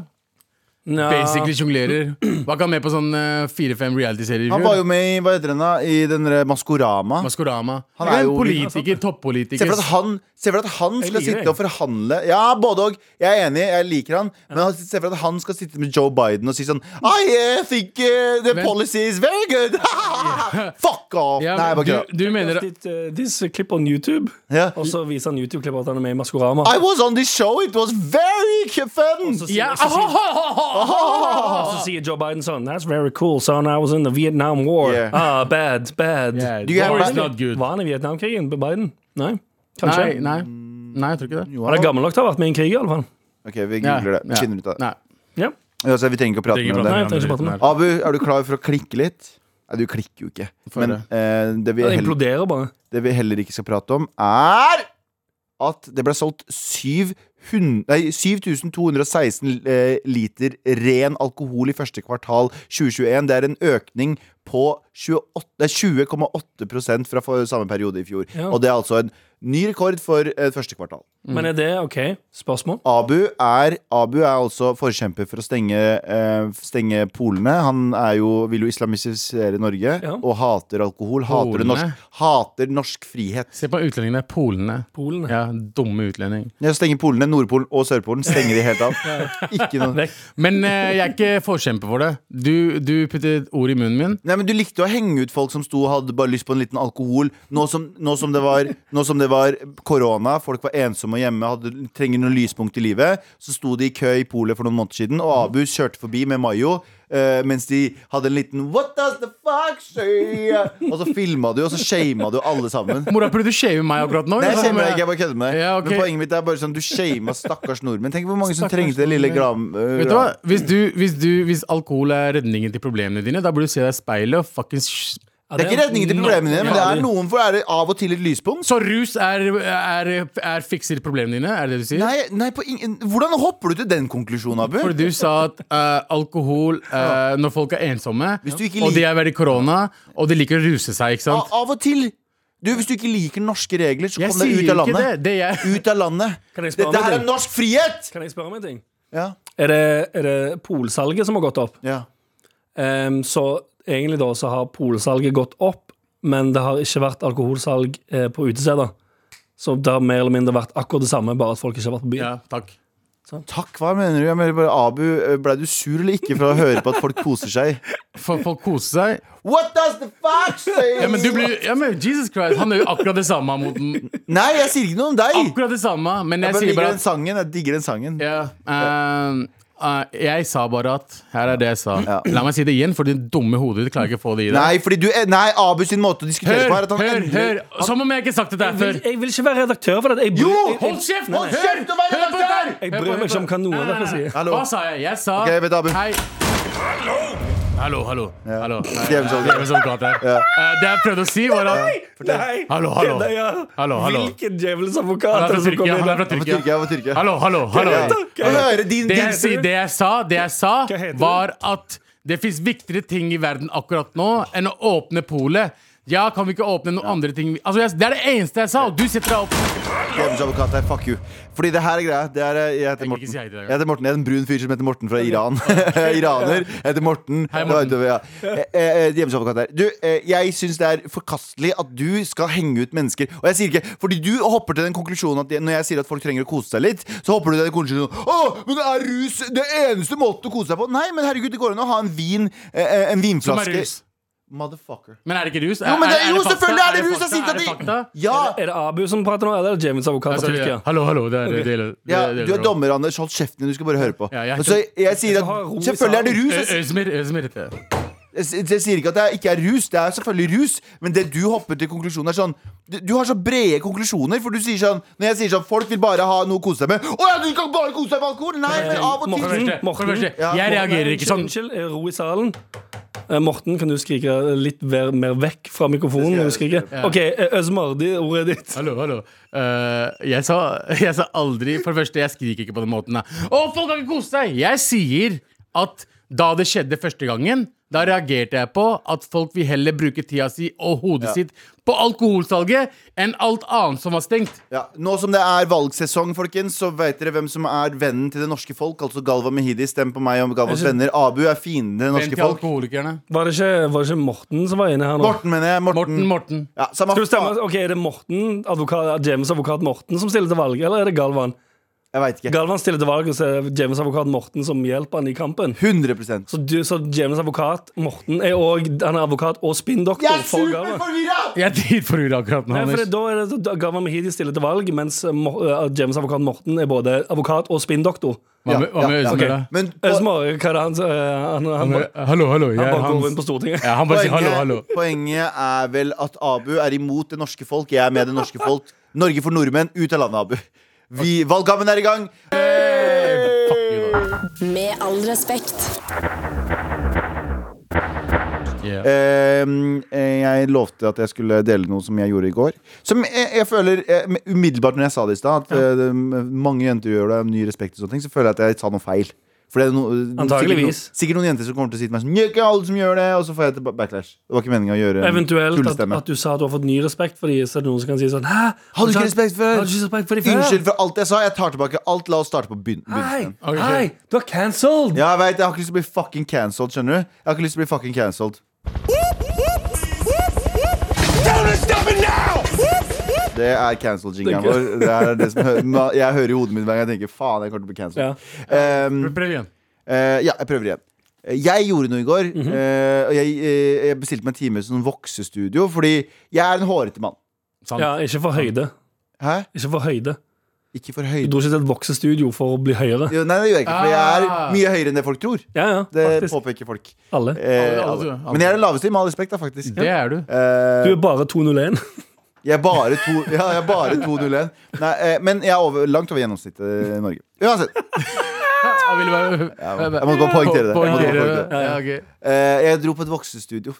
Speaker 4: Nja,
Speaker 2: Basically sjonglerer. Var ikke han med på sånn eh, fire-fem realityserier? i
Speaker 3: Han
Speaker 2: fjor?
Speaker 3: var jo med i hva heter den da, i den der Maskorama.
Speaker 2: Maskorama. Han
Speaker 3: Han
Speaker 2: er
Speaker 3: er
Speaker 2: en
Speaker 3: jo-
Speaker 2: politiker,
Speaker 3: Se
Speaker 2: toppolitiker.
Speaker 3: for deg at han, se for deg at han skal
Speaker 4: liker det,
Speaker 3: sitte og forhandle Ja, både og. Jeg er enig, jeg liker han. Men han- se for deg at han skal sitte med Joe Biden og si sånn I eh, think eh, the
Speaker 2: Men-
Speaker 3: policy is very good! *laughs* Fuck off!
Speaker 2: Ja,
Speaker 3: Nei,
Speaker 2: men
Speaker 3: bare kødda.
Speaker 2: du, du mener
Speaker 4: Ditt, eh, Disse klipp on YouTube,
Speaker 3: Ja.
Speaker 4: og så viser han YouTube-klippet at han er med i Maskorama.
Speaker 3: I was on this show, it was very fun!
Speaker 4: Så sier-
Speaker 2: ja,
Speaker 4: så sier-
Speaker 3: Ah!
Speaker 4: Og så sier Joe Biden sånn That's very cool, son. I was in the Vietnam War.
Speaker 3: Yeah.
Speaker 4: Ah, bad, bad.
Speaker 2: Yeah,
Speaker 3: Du er
Speaker 2: war is
Speaker 3: veldig-
Speaker 2: not good.
Speaker 4: Var han i Vietnamkrigen, Biden? Nei, kanskje.
Speaker 2: Nei, nei. nei, jeg tror
Speaker 3: Mm.
Speaker 2: ikke det.
Speaker 4: Han er gammel nok til å ha vært med i en krig, i alle fall.
Speaker 3: Ok, vi
Speaker 2: Ja,
Speaker 3: googler det. Vi
Speaker 2: ja.
Speaker 3: finner ut av det.
Speaker 2: Nei.
Speaker 4: Ja.
Speaker 3: Altså, vi trenger ikke å prate
Speaker 2: Trenger ikke
Speaker 3: mer
Speaker 2: prate
Speaker 3: om det.
Speaker 4: Nei, jeg trenger ikke prate om det.
Speaker 3: Abu, er du klar for å klikke litt? Nei, du klikker jo ikke.
Speaker 2: Få
Speaker 3: Men
Speaker 2: høre.
Speaker 3: eh, det, vi
Speaker 4: Han
Speaker 3: heller,
Speaker 4: imploderer bare.
Speaker 3: det vi heller ikke skal prate om, er at det ble solgt 700 nei, 7216 eh, liter ren alkohol i første kvartal 2021. Det er en økning på 28 nei, 20,8 fra for- samme periode i fjor.
Speaker 4: Ja.
Speaker 3: Og det er altså en ny rekord for eh, første kvartal.
Speaker 4: Men er det OK? Spørsmål?
Speaker 3: Abu er, Abu er altså forkjemper for å stenge, eh, stenge polene. Han er jo, vil jo islamisere Norge
Speaker 4: Ja.
Speaker 3: og hater alkohol. Hater, det
Speaker 2: Polene?
Speaker 3: norsk, hater norsk frihet.
Speaker 2: Se på utlendingene. Polene.
Speaker 4: Polene.
Speaker 2: Ja, dumme utlending.
Speaker 3: Ja, Stenger polene, Nordpolen og Sørpolen. Stenger de helt av. Ikke noe.
Speaker 4: Vekk.
Speaker 2: Men eh, jeg er ikke forkjemper for det. Du, du puttet ord i munnen min.
Speaker 3: Nei, men Du likte å henge ut folk som sto og hadde bare lyst på en liten alkohol. Nå som, nå som, det, var, nå som det var korona, folk var ensomme hjemme, hadde, trenger noen lyspunkt i livet, så sto de i kø i polet for noen måneder siden, og Abu kjørte forbi med Mayo. eh, mens de hadde en liten What does the fuck say? Og så filma du, og så shama du alle sammen.
Speaker 2: Mora, prøvde du shame meg akkurat nå?
Speaker 3: Nei, jeg shamer deg ikke, jeg bare kødder med deg.
Speaker 2: Ja, ok.
Speaker 3: Men poenget mitt er bare sånn, du shama stakkars nordmenn. Tenk hvor mange som
Speaker 2: Stakkars
Speaker 3: trengte det lille eh, gram...
Speaker 2: nordmenn. Vet du hva? Hvis, du, hvis, du, hvis alkohol er redningen til problemene dine, da burde du se deg i speilet og fuckings
Speaker 3: Det er ikke redningen til problemene dine, men det er noen for er det av og til et lyspunkt.
Speaker 2: Så rus er, er, er fikser problemene dine? Er det det du sier?
Speaker 3: Nei, nei på ingen, hvordan hopper du til den konklusjonen, Abu?
Speaker 2: For du sa at eh, alkohol eh, Når folk er ensomme,
Speaker 3: Hvis du ikke
Speaker 2: og de
Speaker 3: liker-
Speaker 2: er veldig korona, og de liker å ruse seg, ikke
Speaker 3: av,
Speaker 2: sant?
Speaker 3: av og til du, Hvis du ikke liker norske regler, så
Speaker 2: Jeg
Speaker 3: Ah, kom deg
Speaker 2: sier
Speaker 3: ut av
Speaker 2: ikke det.
Speaker 3: landet.
Speaker 2: det jeg,
Speaker 3: Ut av landet.
Speaker 4: Kan jeg spørre
Speaker 3: Dette her
Speaker 4: om en
Speaker 3: er
Speaker 4: ting?
Speaker 3: norsk frihet!
Speaker 4: Kan jeg spørre om en ting?
Speaker 3: Ja,
Speaker 4: Er det, er det polsalget som har gått opp?
Speaker 3: ja.
Speaker 4: Ehm, så egentlig da så har polsalget gått opp, men det har ikke vært alkoholsalg eh, på utesteder. Så det har mer eller mindre vært akkurat det samme, bare at folk ikke har vært på byen.
Speaker 2: ja, takk.
Speaker 3: Takk, hva mener du? Jeg mener bare, Abu, Blei du sur eller ikke for å høre på at folk koser seg?
Speaker 2: For folk koser seg.
Speaker 3: What does the fuck say?
Speaker 2: Ja, men du blir ja, men Jesus Christ, han gjør jo akkurat det samme mot den.
Speaker 3: Nei, jeg sier ikke noe om deg!
Speaker 2: Akkurat det samme, men
Speaker 3: Jeg,
Speaker 2: jeg
Speaker 3: bare
Speaker 2: sier
Speaker 3: liker
Speaker 2: bare
Speaker 3: den
Speaker 2: at
Speaker 3: sangen. Jeg digger den sangen.
Speaker 2: ja, eh, eh, Jeg sa bare at Her er det jeg sa.
Speaker 3: Ja.
Speaker 2: La meg si det igjen, for ditt dumme hode ditt klarer ikke å få det i deg.
Speaker 3: Nei, fordi du, eh, nei, Abu sin måte å diskutere på
Speaker 2: Hør,
Speaker 3: er at han
Speaker 2: hør,
Speaker 3: endelig-
Speaker 2: hør! Som om jeg ikke har sagt det der
Speaker 4: Jeg
Speaker 2: før.
Speaker 4: vil, jeg vil ikke være redaktør for det. Jeg, bryr-
Speaker 3: Jo!
Speaker 4: jeg, jeg,
Speaker 2: Hold kjeft!
Speaker 3: Nei, nei.
Speaker 2: Hør
Speaker 3: Kjeft å være
Speaker 2: Hør på dette her!
Speaker 4: jeg bryr meg ikke om hva noen av dere sier.
Speaker 3: Hallo.
Speaker 2: Hva sa jeg? Jeg sa
Speaker 3: Ok, vent, Abu.
Speaker 2: Hei. Hallo! Hallo,
Speaker 3: Ja.
Speaker 2: hallo. Hei,
Speaker 3: Djevelens advokat.
Speaker 2: Djevelens advokat her. Eh, Det jeg prøvde å si, var at
Speaker 4: Nei!
Speaker 2: Hallo, hallo.
Speaker 4: Kødder jeg?
Speaker 2: Hallo, hallo.
Speaker 4: Hvilken djevelens advokat
Speaker 2: Han
Speaker 4: er
Speaker 2: er
Speaker 4: det
Speaker 2: fra
Speaker 4: som
Speaker 2: Tyrkia. Han er fra
Speaker 4: kommer inn?
Speaker 3: Han er fra
Speaker 2: Tyrkia.
Speaker 3: Tyrkia, han er fra Tyrkia.
Speaker 2: Hallo, hallo, hallo.
Speaker 3: Ja. Få høre din,
Speaker 2: Det jeg,
Speaker 3: din
Speaker 2: si, det jeg sa, det jeg sa
Speaker 4: heter du?
Speaker 2: var at det fins viktigere ting i verden akkurat nå enn å åpne polet. Ja, kan vi ikke åpne noen andre ting? Altså, jeg, det er det eneste jeg sa, og du setter deg opp.
Speaker 3: Djevelens advokat her, fuck you. Fordi det her er greia. Det er, eh, jeg, heter
Speaker 2: Jeg
Speaker 3: Morten.
Speaker 2: liker ikke si hei
Speaker 3: jeg
Speaker 2: til deg.
Speaker 3: heter Morten. Jeg er en brun fyr som heter Morten fra Iran. Iraner. *laughs* Jeg heter Morten.
Speaker 2: Hei,
Speaker 3: Det var
Speaker 2: Morten.
Speaker 3: utover, ja. Eh, eh, Djevelens advokat her. Du, eh, jeg syns det er forkastelig at du skal henge ut mennesker. Og jeg sier ikke Fordi du hopper til den konklusjonen at jeg- når jeg sier at folk trenger å kose seg litt, så hopper du til den konklusjonen Å, men det er rus! Det eneste måten å kose seg på! Nei, men herregud, det går an å ha en vin eh, En vinflaske
Speaker 2: Som er rus.
Speaker 3: Motherfucker.
Speaker 2: Men er det ikke rus?
Speaker 3: Jo, men det, jo
Speaker 2: fakta?
Speaker 3: selvfølgelig er det rus! Jeg
Speaker 2: fakta?
Speaker 3: sier
Speaker 2: Er det
Speaker 3: ikke
Speaker 2: fakta?
Speaker 3: at de Ja!
Speaker 4: Er det Abu som prater nå, eller er det djevelens advokat fra
Speaker 2: Altså,
Speaker 4: Tyrkia?
Speaker 2: ja. Hallo, hallo. Det er, det, det, det,
Speaker 3: Ja,
Speaker 2: det- det-
Speaker 3: du er dommer, Anders. Hold kjeften din. Du skal bare høre på.
Speaker 2: Ja, jeg-
Speaker 3: altså, jeg, jeg sier
Speaker 4: skal ha ro i
Speaker 3: at Selvfølgelig er det rus.
Speaker 2: Ø-
Speaker 3: Jeg,
Speaker 2: Øzdemir, Øzdemir heter jeg.
Speaker 3: jeg, jeg sier ikke at det er- ikke er rus. Det er selvfølgelig rus. Men det du hopper til konklusjonen er sånn du, du har så brede konklusjoner. For du sier sånn Når jeg sier sånn Folk vil bare ha noe å kose seg med. Å ja, du kan bare kose deg med alkohol! Nei,
Speaker 4: Eh,
Speaker 3: av
Speaker 2: For
Speaker 3: og
Speaker 2: det
Speaker 3: til.
Speaker 2: første, for det første,
Speaker 3: Ja,
Speaker 2: jeg
Speaker 3: Morten,
Speaker 2: reagerer ikke sånn.
Speaker 4: Unnskyld, unnskyld, ro i salen. Eh, Morten, kan du skrike litt ver, mer vekk fra mikrofonen? når du
Speaker 3: Det skal jeg
Speaker 4: skriker? OK, eh, Øzmardi, ordet er ditt.
Speaker 2: Hallo, hallo. Eh, jeg, sa, *laughs* jeg sa aldri For det første, jeg skriker ikke på den måten. da. Å, folk kan ikke kose seg! Jeg sier at da det skjedde første gangen, Da reagerte jeg på at folk vil heller bruke tida si og hodet sitt på alkoholsalget enn alt annet som var stengt.
Speaker 3: Ja. Nå som det er valgsesong, folkens, så vet dere hvem som er vennen til det norske folk. Altså Galva Mehidi. Stem på meg om Galvas venner. Abu er fienden til det
Speaker 2: Venn
Speaker 3: norske
Speaker 2: til
Speaker 3: folk. Mm.
Speaker 2: alkoholikerne.
Speaker 4: Var det, ikke, var det ikke Morten som var inne her nå?
Speaker 3: Morten, mener jeg. Morten.
Speaker 2: Morten, Morten.
Speaker 3: Ja, samme
Speaker 4: Skal du stemme?
Speaker 3: faen.
Speaker 4: Ok, Er det Morten, advokat, James advokat Morten som stiller til valg, eller er det Galvan?
Speaker 3: Jeg veit ikke.
Speaker 4: Galvan stiller til valg, og så er det James advokat Morten som hjelper han i kampen.
Speaker 3: 100
Speaker 4: Så, du, så James advokat Morten er òg Han er advokat og spinndoktor for Galvan.
Speaker 3: superforvirra!
Speaker 2: Jeg er dritforvirra akkurat nå.
Speaker 4: Nei, for
Speaker 2: Anders.
Speaker 4: det, da er det da Galvan Mehidi stiller til valg, mens Mo- eh, James advokat Morten er både advokat og spinndoktor.
Speaker 2: Hva med, hva med
Speaker 3: Ja, ja,
Speaker 2: Øystein
Speaker 3: ok.
Speaker 2: Døhla?
Speaker 3: Men på,
Speaker 4: Øsmar, hva er det han sa? Han, han, han,
Speaker 2: Hallo, hallo. Jeg
Speaker 4: han
Speaker 2: er
Speaker 4: bare går rundt
Speaker 2: Hans.
Speaker 4: på Stortinget.
Speaker 2: Ja, han bare sier hallo, hallo.
Speaker 3: poenget, poenget er vel at Abu er imot det norske folk. Jeg er med det norske folk. Norge for nordmenn. Ut av landet, Abu. Vi, valgkampen er i gang.
Speaker 1: Med all respekt.
Speaker 2: Yeah.
Speaker 3: Eh, jeg lovte at jeg skulle dele noe som jeg gjorde i går. Som jeg, jeg føler eh, med- umiddelbart når jeg sa det i stad, at eh, det- mange jenter gjør det av ny respekt, og sånne ting så føler jeg at jeg sa noe feil. For det er noe- noen-
Speaker 4: Antageligvis.
Speaker 3: Sikkert, noen- sikkert noen jenter som kommer til å si til meg sånn «Njø, ikke alle som gjør det, og så får jeg tilba- backlash. Det var ikke meningen å gjøre en
Speaker 4: Eventuelt at,
Speaker 3: tullestemme.
Speaker 4: at du sa at du har fått ny respekt for dem, så er det noen som kan si sånn Hæ?
Speaker 3: Har du ikke respekt for-
Speaker 4: Har du ikke respekt for dem før?
Speaker 3: Unnskyld for alt jeg sa. Jeg tar tilbake alt. La oss starte på begyn-
Speaker 4: Hei,
Speaker 3: begynnelsen.
Speaker 2: Ok,
Speaker 4: hei, du er cancelled!
Speaker 3: Ja, jeg vet, jeg har ikke lyst til å bli fucking cancelled, skjønner du? Jeg har ikke lyst til å bli fucking cancelled. Det er cancel-jingeren vår. Det er det som *laughs* hø- ma- jeg hører i hodet mitt hver gang jeg tenker faen, jeg kommer til å bli
Speaker 4: Ja.
Speaker 3: cancelled. Ehm,
Speaker 2: Prøv igjen.
Speaker 3: eh, ja, jeg prøver igjen. Eh, Jeg gjorde noe i går.
Speaker 4: Mhm.
Speaker 3: eh, og jeg, eh, jeg bestilte meg en time i sånn voksestudio fordi jeg er en hårete mann.
Speaker 2: Sant.
Speaker 4: Ja, ikke for høyde.
Speaker 3: Hæ?
Speaker 4: Ikke for høyde.
Speaker 3: Ikke for
Speaker 4: Du
Speaker 3: høyde.
Speaker 4: dro ikke til et voksestudio for å bli høyere.
Speaker 3: Jo, nei, det gjør jeg ikke, for jeg er
Speaker 2: Ah.
Speaker 3: mye høyere enn det folk tror.
Speaker 4: Ja, ja,
Speaker 3: Det
Speaker 4: faktisk.
Speaker 3: påpeker folk.
Speaker 4: Alle.
Speaker 3: Eh,
Speaker 2: Alle- alle
Speaker 3: alle.
Speaker 2: tror jeg. Alle.
Speaker 3: Men jeg er den laveste, med all respekt, da, faktisk.
Speaker 2: Det er du.
Speaker 3: Eh,
Speaker 4: Du er bare 201.
Speaker 3: Jeg er bare to- *laughs* ja, jeg er bare 201. Nei, eh, men jeg er over, langt over gjennomsnittet i Norge. Uansett.
Speaker 2: Jeg vil bare-
Speaker 3: jeg må bare poengtere det.
Speaker 2: Po-
Speaker 3: Jeg må
Speaker 2: poengtere
Speaker 3: bare
Speaker 2: det. Ja, ok.
Speaker 3: Eh, jeg dro på et voksestudio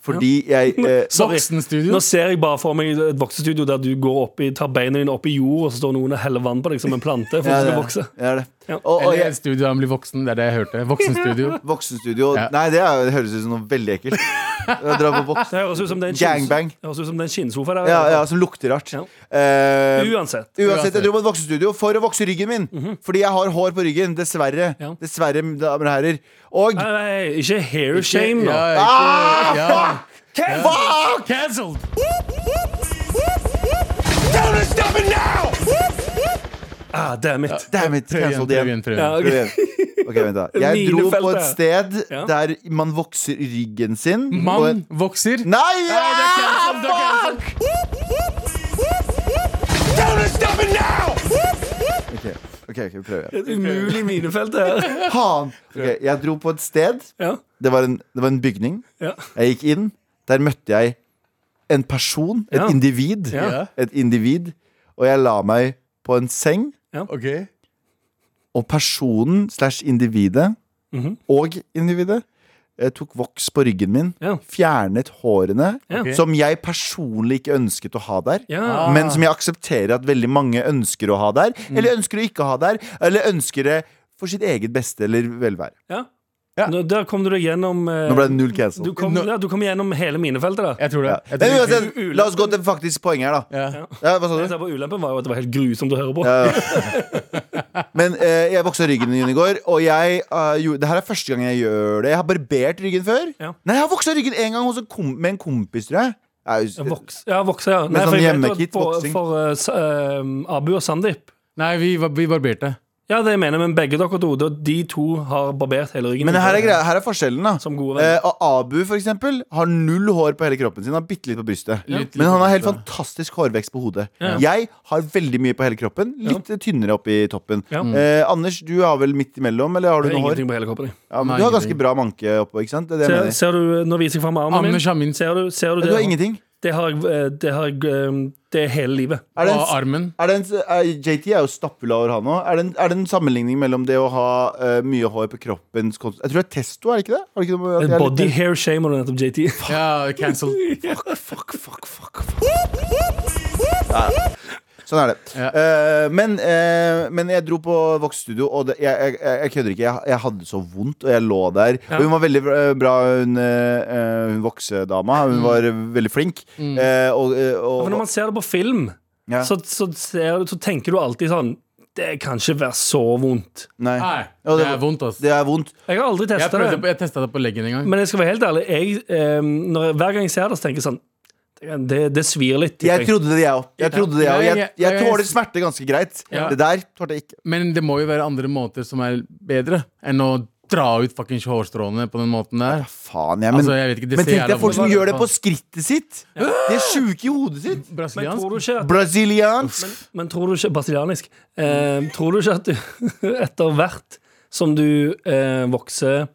Speaker 3: fordi jeg
Speaker 4: *laughs*
Speaker 3: eh,
Speaker 4: Sorry.
Speaker 2: *laughs* Voksenstudio.
Speaker 4: Nå ser jeg bare for meg et voksestudio der du går opp i, tar beina dine opp i jord, og så står noen og heller vann på deg som en plante for
Speaker 3: Ja,
Speaker 4: at du
Speaker 3: det
Speaker 4: skal
Speaker 3: er-
Speaker 4: vokse.
Speaker 3: jeg er det.
Speaker 4: Ja.
Speaker 3: Og, og
Speaker 2: Eller
Speaker 3: jeg,
Speaker 2: et studio der man blir voksen. Det er det jeg hørte. *laughs* Voksenstudio.
Speaker 3: voksenstudio
Speaker 2: Ja.
Speaker 3: Nei, det, er, det høres ut som noe veldig
Speaker 4: *laughs*
Speaker 3: ekkelt. Jeg drar på voks
Speaker 4: Det høres ut som det er en skinns-
Speaker 3: Gangbang.
Speaker 4: det høres ut som det er en skinnsofa der.
Speaker 3: ja, ja, som lukter rart.
Speaker 4: Ja.
Speaker 3: Eh,
Speaker 4: Uansett.
Speaker 3: Uansett, jeg dro på et voksestudio for å vokse ryggen min. Fordi jeg har hår på ryggen. Dessverre.
Speaker 4: Ja.
Speaker 3: Dessverre, damer og herrer. Og
Speaker 4: Nei, nei, ikke hair shame, da.
Speaker 2: Ja,
Speaker 3: Ah,
Speaker 2: ikke- ja.
Speaker 3: Fuck!
Speaker 2: Cancelled!
Speaker 4: Ah, damn it.
Speaker 3: Damn it,
Speaker 2: Prøv igjen,
Speaker 3: cancelled
Speaker 2: prøv
Speaker 3: igjen.
Speaker 2: igjen. Prøv
Speaker 4: Ja,
Speaker 2: igjen.
Speaker 4: ok.
Speaker 3: Prøv igjen. Ok, vent da Jeg dro på
Speaker 4: Minefeltet.
Speaker 3: et sted
Speaker 4: Ja.
Speaker 3: der man vokser ryggen sin. og Ah,
Speaker 2: Mann
Speaker 3: en-
Speaker 2: vokser.
Speaker 3: Nei!
Speaker 2: Nei, det er cancelled, det er cancelled.
Speaker 3: Ok, ok, ok, vi prøver igjen.
Speaker 4: Et umulig minefelt, det her.
Speaker 3: Faen! Ok, jeg dro på et sted.
Speaker 4: Ja,
Speaker 3: Det var, en, det var en bygning.
Speaker 4: ja.
Speaker 3: Jeg gikk inn. Der møtte jeg en person. Et
Speaker 4: Ja.
Speaker 3: individ.
Speaker 4: Ja.
Speaker 3: Et individ. Og jeg la meg på en seng.
Speaker 2: Ok.
Speaker 3: Og personen slash individet
Speaker 4: Mhm.
Speaker 3: og individet eh, tok voks på ryggen min,
Speaker 4: Ja.
Speaker 3: fjernet hårene,
Speaker 4: Ja.
Speaker 2: Ok.
Speaker 3: som jeg personlig ikke ønsket å ha der.
Speaker 4: ja.
Speaker 2: Ah.
Speaker 3: Men som jeg aksepterer at veldig mange ønsker å ha der,
Speaker 4: Mm.
Speaker 3: eller ønsker å ikke ha der, eller ønsker det for sitt eget beste eller velvære.
Speaker 4: ja.
Speaker 2: Ja.
Speaker 4: Nå, der kom du deg gjennom eh,
Speaker 3: Nå ble det null cancel.
Speaker 4: du, kom,
Speaker 2: Nå-
Speaker 4: ja, du kom gjennom hele minefeltet, da.
Speaker 2: Jeg tror det.
Speaker 3: Ja.
Speaker 2: Jeg tror
Speaker 3: Men
Speaker 2: det.
Speaker 3: uansett, la oss gå til faktisk poeng her, da.
Speaker 2: Ja.
Speaker 3: Ja, hva sa du?
Speaker 4: Jeg sa bare Ulempen var jo at det var helt grusomt å høre på.
Speaker 3: Ja, ja. Men eh, jeg voksa ryggen min i går, og jeg eh, gjorde- Det her er første gang jeg gjør det. Jeg har barbert ryggen før.
Speaker 4: Ja.
Speaker 3: Nei, jeg har voksa ryggen en gang hos en kom med en kompis, tror jeg. jeg er jo-
Speaker 4: Voks, ja, vokse, ja.
Speaker 3: Med
Speaker 4: Nei,
Speaker 3: sånn
Speaker 4: for jeg vet jo
Speaker 3: hjemmekit,
Speaker 4: at for,
Speaker 3: voksing.
Speaker 4: for eh, s- eh, Abu og Sandeep
Speaker 2: Nei, vi, var- vi barberte.
Speaker 4: Ja, det mener jeg, men begge dere to. da- De to har barbert hele ryggen.
Speaker 3: Men her er, greia, her er forskjellen, da.
Speaker 4: Som gode venner.
Speaker 3: Eh, og Abu for eksempel har null hår på hele kroppen sin. Han har bitte litt på brystet.
Speaker 2: Litt, litt
Speaker 3: Men
Speaker 2: på
Speaker 3: han har helt
Speaker 2: brystet.
Speaker 3: fantastisk hårvekst på hodet.
Speaker 4: Ja.
Speaker 3: Jeg har veldig mye på hele kroppen. Litt tynnere oppi toppen.
Speaker 4: Ja.
Speaker 3: Eh, Anders, du har vel midt imellom, eller har
Speaker 4: Det
Speaker 3: du
Speaker 4: er
Speaker 3: noe hår?
Speaker 4: Ingenting på hele kroppen. jeg.
Speaker 3: Ja, men
Speaker 2: Nei,
Speaker 3: du har ganske
Speaker 2: ingenting.
Speaker 3: bra manke oppå, ikke sant? Det er det jeg mener.
Speaker 4: Ser, ser du, nå viser jeg fram armen min.
Speaker 2: Anders har min.
Speaker 4: Ser du, ser du det?
Speaker 3: Du har ingenting?
Speaker 4: Det har, jeg, eh, det har jeg eh, Det er hele livet.
Speaker 3: Er det
Speaker 2: Og
Speaker 3: en,
Speaker 2: armen.
Speaker 3: er det en, er, JT er jo stappfull av hår, han òg. Er, det en- er det en sammenligning mellom det å ha eh, mye hår på kroppen Jeg tror det er testo, er det ikke det? Har det ikke noe med at jeg er litt-
Speaker 4: Body hair shame og nettopp JT.
Speaker 2: Ja, cancelled.
Speaker 3: Fuck, fuck, fuck, fuck. Nei. Sånn er det.
Speaker 2: Ja.
Speaker 3: Eh, men, eh, men jeg dro på Vox Studio, og det, jeg, jeg, jeg, jeg kødder ikke. Jeg, jeg hadde så vondt, og jeg lå der. Og hun var veldig eh, bra, hun, eh, hun voksedama.
Speaker 2: Mm.
Speaker 3: Hun var veldig flink. Eh, og, eh, og,
Speaker 4: For når man ser det på film,
Speaker 3: Ja.
Speaker 2: sånn,
Speaker 4: så, så, ser, du- så tenker du alltid sånn Det kan ikke være så vondt.
Speaker 3: nei.
Speaker 2: Nei,
Speaker 3: Og
Speaker 2: det er vondt, ass.
Speaker 3: Det er vondt.
Speaker 4: Jeg har aldri
Speaker 2: Jeg,
Speaker 4: testa
Speaker 2: prøvde
Speaker 4: det.
Speaker 2: på, jeg testa det på leggen en gang.
Speaker 4: Men jeg skal være helt ærlig, jeg, eh, når jeg, hver gang jeg ser det, så tenker jeg sånn Det, det, det svir litt.
Speaker 3: Jeg trodde det, jeg òg. Jeg, trodde det, jeg, også. jeg, jeg tåler smerte ganske greit.
Speaker 2: Ja.
Speaker 3: Det der tålte jeg ikke.
Speaker 2: Men det må jo være andre måter som er bedre enn å dra ut fuckings hårstråene på den måten der.
Speaker 3: Faen, jeg, men,
Speaker 2: Altså, jeg vet ikke, det
Speaker 3: men
Speaker 2: ser
Speaker 3: tenk
Speaker 2: jævla
Speaker 3: deg folk som
Speaker 2: vondt ut.
Speaker 3: gjør det på skrittet sitt! De er sjuke i hodet sitt!
Speaker 4: Men
Speaker 2: Brasiliansk?
Speaker 4: tror du ikke at
Speaker 3: Brasiliansk!
Speaker 4: Men tror du ikke Brasilianisk. Eh, tror du ikke at du *laughs* etter hvert som du eh, vokser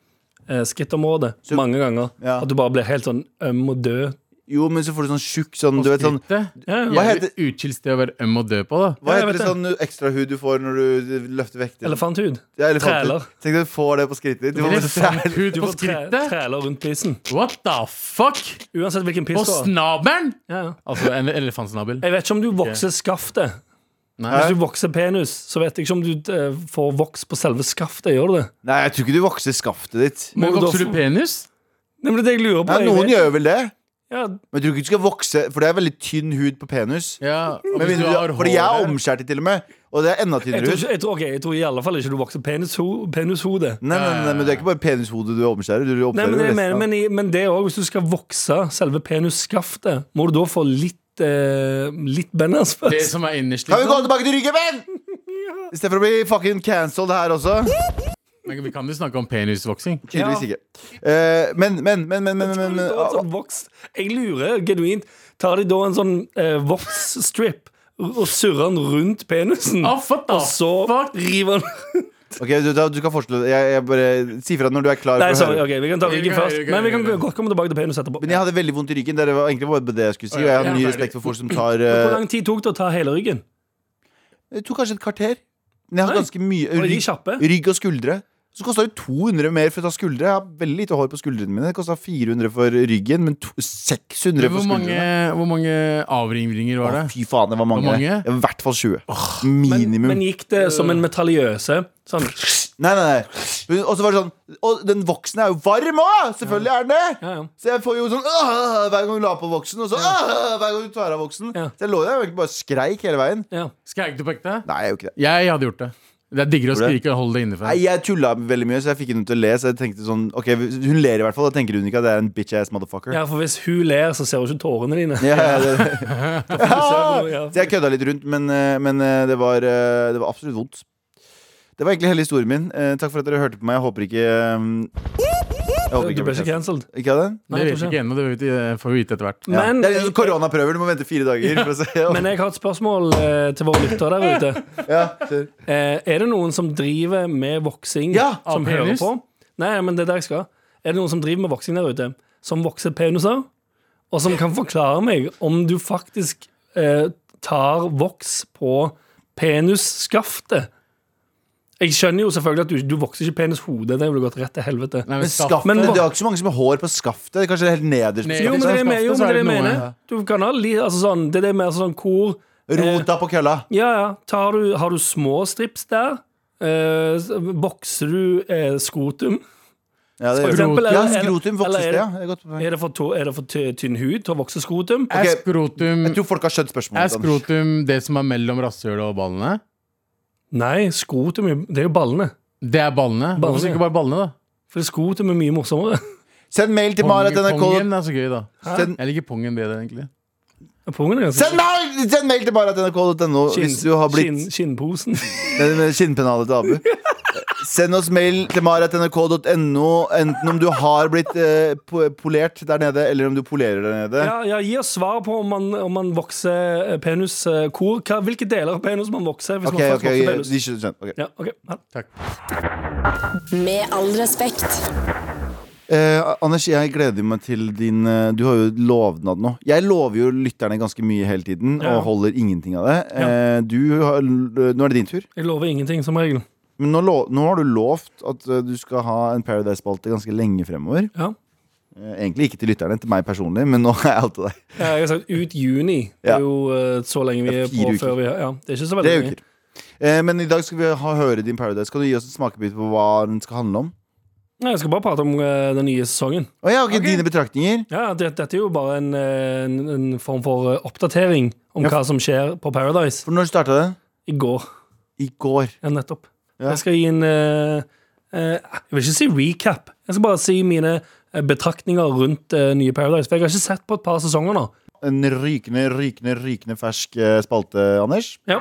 Speaker 4: eh, skrittområdet mange ganger,
Speaker 3: Ja.
Speaker 4: at du bare blir helt sånn øm og død?
Speaker 3: Jo, men så får du sånn tjukk sånn, du vet sånn
Speaker 2: Skrittet?
Speaker 4: Ja,
Speaker 3: Hva
Speaker 2: Jævlig
Speaker 4: ja.
Speaker 3: heter-
Speaker 2: Utkilt sted å være øm og død på, da.
Speaker 3: Hva
Speaker 4: Ja, jeg
Speaker 3: heter
Speaker 4: vet
Speaker 3: det sånn ekstrahud du får når du løfter vekter?
Speaker 4: Elefanthud.
Speaker 3: Ja, elefanter.
Speaker 4: Træler.
Speaker 3: Tenk deg du får det på skrittet ditt. Du får masse træler.
Speaker 2: sånn Hud
Speaker 4: Du
Speaker 2: på
Speaker 4: får træ-
Speaker 2: skrittet?
Speaker 4: træler rundt pissen.
Speaker 2: What the fuck?
Speaker 4: Uansett hvilken piss
Speaker 2: På
Speaker 4: du har.
Speaker 2: snabelen?
Speaker 4: Ja, ja.
Speaker 2: Altså en elefantsnabel.
Speaker 4: Jeg vet ikke om du vokser skaftet.
Speaker 2: Nei.
Speaker 4: Hvis du vokser penis, så vet jeg ikke om du eh, får voks på selve skaftet. Gjør du det?
Speaker 3: Nei, jeg tror ikke du vokser skaftet ditt.
Speaker 2: Men
Speaker 4: Må du da
Speaker 2: vokser
Speaker 4: få-
Speaker 2: du penis?
Speaker 4: Nei, men det er det jeg lurer på.
Speaker 3: Nei,
Speaker 4: Jeg
Speaker 3: noen
Speaker 4: vet-
Speaker 3: gjør vel det,
Speaker 4: ja,
Speaker 3: men jeg tror ikke du skal vokse For det er veldig tynn hud på penus.
Speaker 2: Ja. og
Speaker 3: Men
Speaker 2: hvis du
Speaker 3: mindre du-
Speaker 2: har
Speaker 3: fordi jeg er
Speaker 2: håret-
Speaker 3: omskjært til og med, og det er enda
Speaker 4: jeg,
Speaker 3: tynnere
Speaker 4: tror,
Speaker 3: hud.
Speaker 4: ikke- jeg, tror, ok, jeg tror i alle fall ikke du vokser penisho- penishode.
Speaker 3: Nei, nei, nei, men det er ikke bare penishodet du omskjærer. Du
Speaker 4: Nei,
Speaker 3: omskjærer
Speaker 4: men,
Speaker 3: jo
Speaker 4: det,
Speaker 3: resten
Speaker 4: men,
Speaker 3: av-
Speaker 4: men, i- men det òg, hvis du skal vokse selve penisskaftet, må du da få litt eh, Litt benders
Speaker 2: Det
Speaker 4: først.
Speaker 2: som er innerst,
Speaker 3: Kan vi gå
Speaker 2: liksom.
Speaker 3: tilbake til ryggen,
Speaker 4: *laughs*
Speaker 3: I stedet for å bli fucking cancelled her også.
Speaker 2: Men vi kan jo snakke om penisvoksing.
Speaker 3: Tydeligvis ikke. Eh, men, men, men, men, men, men,
Speaker 4: Tar de
Speaker 3: men
Speaker 4: da en sånn voks, jeg lurer genuint. Tar de da en sånn eh, voksstrip og surrer den rundt penisen?
Speaker 2: Ah, what the
Speaker 4: og så
Speaker 2: fuck?
Speaker 4: river den
Speaker 3: Ok, du, da- du kan fortsette. Jeg, jeg bare Si fra når du er klar.
Speaker 4: Nei,
Speaker 3: for å
Speaker 4: sorry.
Speaker 3: høre.
Speaker 4: ok, Vi kan ta
Speaker 2: Vi
Speaker 4: ryggen
Speaker 2: kan-
Speaker 4: først.
Speaker 2: vi kan-
Speaker 4: Men vi kan
Speaker 2: vi kan-
Speaker 4: godt komme tilbake til penis etterpå.
Speaker 3: Men jeg hadde veldig vondt i ryggen. Det var egentlig bare det jeg skulle si. Og jeg har
Speaker 2: Ja,
Speaker 3: mye
Speaker 2: ferdig.
Speaker 3: respekt for folk
Speaker 4: *clears throat*
Speaker 3: som tar
Speaker 4: Hvor
Speaker 3: eh,
Speaker 4: lang tid tok det å ta hele ryggen?
Speaker 3: Det tok kanskje et kvarter. Men jeg har
Speaker 4: Nei.
Speaker 3: ganske mye
Speaker 4: Var de
Speaker 3: rygg,
Speaker 4: kjappe?
Speaker 3: rygg og skuldre. Så kosta det 200 mer for å ta skuldre. Jeg har veldig lite hår på skuldrene mine. Det kosta 400 for ryggen, men to, 600 for
Speaker 2: Hvor mange,
Speaker 3: skuldrene.
Speaker 2: hvor mange avringringer var
Speaker 3: Å,
Speaker 2: det?
Speaker 3: fy faen, det var mange.
Speaker 2: mange?
Speaker 3: I hvert fall 20. Minimum.
Speaker 4: Men gikk det som en metalliøse? Sånn.
Speaker 3: Nei, nei, nei. Og så var det sånn Og den voksne er jo varm òg! Selvfølgelig er den det!
Speaker 4: Ja, ja.
Speaker 3: Så jeg får jo sånn «Åh!» hver gang du la på voksen, og så «Åh!» hver gang du tar av voksen.
Speaker 4: Ja.
Speaker 3: Så jeg lå der og egentlig bare skreik hele veien.
Speaker 4: Ja.
Speaker 2: Skreik du på ekte?
Speaker 3: Nei, jeg gjorde ikke det.
Speaker 2: Jeg hadde gjort det. Det er diggere å
Speaker 3: Gjorde det?
Speaker 2: skrike og holde det inne
Speaker 3: Nei,
Speaker 2: for.
Speaker 3: Jeg tulla veldig mye, så jeg fikk henne til å le. Så jeg tenkte sånn Ok, hun ler i hvert fall. Da tenker hun ikke at det er en bitch ass motherfucker.
Speaker 4: ja, for hvis hun ler, så ser hun ikke tårene dine.
Speaker 3: Ja, ja, det-
Speaker 4: *laughs* ja.
Speaker 3: Så jeg kødda litt rundt, men, eh, men eh, det, var, eh, det var absolutt vondt. Det var egentlig hele historien min. Eh, Takk for at dere hørte på meg. Jeg håper ikke eh, Jeg håper
Speaker 4: Du
Speaker 3: ikke
Speaker 4: ble ikke cancelled.
Speaker 3: Ikke av den?
Speaker 2: Det
Speaker 4: Nei, jeg
Speaker 2: vet vi
Speaker 4: tror
Speaker 2: ikke ennå, det vet vi, eh, får vi vite etter hvert.
Speaker 3: Ja.
Speaker 4: Men,
Speaker 3: det er litt sånn koronaprøver. Du må vente fire dager. for å se om-
Speaker 4: *laughs* men jeg har et spørsmål eh, til våre lyttere der ute.
Speaker 3: ja, kjør.
Speaker 4: Eh, er det noen som driver med voksing
Speaker 3: Ja,
Speaker 4: som
Speaker 2: av
Speaker 4: hører
Speaker 2: penis?
Speaker 4: på? Nei, men det er der jeg skal. Er det noen som driver med voksing der ute, som vokser peniser, og som kan forklare meg om du faktisk eh, tar voks på penisskaftet? Jeg skjønner jo selvfølgelig at du, du vokser ikke penishodet, det ville gått rett til helvete.
Speaker 2: Nei,
Speaker 3: Men
Speaker 2: skaff-
Speaker 3: skaftet,
Speaker 4: Men hva-
Speaker 3: det er ikke så mange som har hår på skaftet. Det er Kanskje helt nederst. på
Speaker 2: Ned-
Speaker 4: jo, men det er det jeg mener. Jo, men det er
Speaker 2: Skaftet, så er
Speaker 4: det jeg
Speaker 2: det
Speaker 4: mener.
Speaker 2: noe.
Speaker 4: Du kan ha li, altså sånn, det er det mer sånn hvor
Speaker 3: skaftet. Rota på kølla.
Speaker 4: Ja, ja. Tar du, har du små strips der? Eh, s- vokser du eh, skotum?
Speaker 3: Ja, det gjør det.
Speaker 4: For eksempel,
Speaker 3: ja,
Speaker 4: eller-
Speaker 3: skrotum
Speaker 4: eller-
Speaker 3: vokses
Speaker 4: eller er
Speaker 3: det, ja.
Speaker 4: det-
Speaker 3: Det er godt poeng.
Speaker 4: Er det for, to, er det for ty- tynn hud til å vokse skrotum?
Speaker 3: Ok,
Speaker 2: Er skrotum,
Speaker 3: Jeg tror folk har skjønt spørsmålet.
Speaker 2: er
Speaker 3: Anders.
Speaker 2: skrotum det som er mellom rasshølet og ballene?
Speaker 4: Nei, skrotum er- det er jo ballene.
Speaker 2: Det er ballene. Hvorfor
Speaker 4: Ballene.
Speaker 2: ikke bare ballene, da?
Speaker 4: For skotum er mye morsommere. *laughs*
Speaker 3: Send mail til Marat NRK.
Speaker 2: Pongen er så gøy, da.
Speaker 3: Send,
Speaker 2: Jeg liker pongen bedre, egentlig.
Speaker 4: Pungen er ganske
Speaker 3: send, mail, send mail til maratnrk.no hvis du har blitt
Speaker 4: skinn,
Speaker 3: *laughs*
Speaker 4: skinnposen.
Speaker 3: Med- med Skinnpennalet til Abu. Send oss mail til maratnrk.no enten om du har blitt eh, po- polert der nede, eller om du polerer der nede.
Speaker 4: Ja, ja, gi oss svar på om man, om man vokser eh, penis eh, hvor, hva, Hvilke deler av penis man vokser. Hvis
Speaker 3: Ok,
Speaker 4: man
Speaker 3: ok,
Speaker 4: faktisk vokser
Speaker 3: ok,
Speaker 4: penis.
Speaker 3: de skjønner, skjønner. ok.
Speaker 4: Ja, ok. Ja.
Speaker 2: Takk.
Speaker 1: Med all respekt.
Speaker 3: Eh, Anders, jeg gleder meg til din eh, Du har jo lovnad nå. Jeg lover jo lytterne ganske mye hele tiden
Speaker 4: Ja.
Speaker 3: og holder ingenting av det.
Speaker 4: Ja.
Speaker 3: Eh, du har, nå er det din tur.
Speaker 4: Jeg lover ingenting, som regel.
Speaker 3: Men nå, lo, nå har du lovt at eh, du skal ha en Paradise-spalte ganske lenge fremover.
Speaker 4: Ja.
Speaker 3: Eh, Egentlig ikke til lytterne, til meg personlig, men nå er jeg out av deg.
Speaker 4: Ja, jeg har sagt ut juni. Det
Speaker 3: Ja.
Speaker 4: er jo eh, så lenge vi
Speaker 3: Det er
Speaker 4: er
Speaker 3: fire
Speaker 4: på
Speaker 3: uker.
Speaker 4: før vi Ja, det er ikke så veldig
Speaker 3: Tre
Speaker 4: lenge.
Speaker 3: uker. Eh, Men i dag skal vi ha, høre din Paradise. Kan du gi oss en smakebit på hva den skal handle om?
Speaker 4: Nei, jeg skal bare prate om eh, den nye sesongen.
Speaker 3: Å ja, ok, Dine betraktninger.
Speaker 4: Ja, det, Dette er jo bare en, eh, en, en form for eh, oppdatering om
Speaker 3: Ja.
Speaker 4: hva som skjer på Paradise
Speaker 3: For når starta det?
Speaker 4: i går.
Speaker 3: I går.
Speaker 4: Ja, nettopp.
Speaker 3: Ja.
Speaker 4: Jeg skal gi en eh, eh, Jeg vil ikke si recap. Jeg skal bare si mine eh, betraktninger rundt eh, nye Paradise. For jeg har ikke sett på et par sesonger nå.
Speaker 3: En rykende, rykende, rykende fersk eh, spalte, Anders.
Speaker 4: Ja.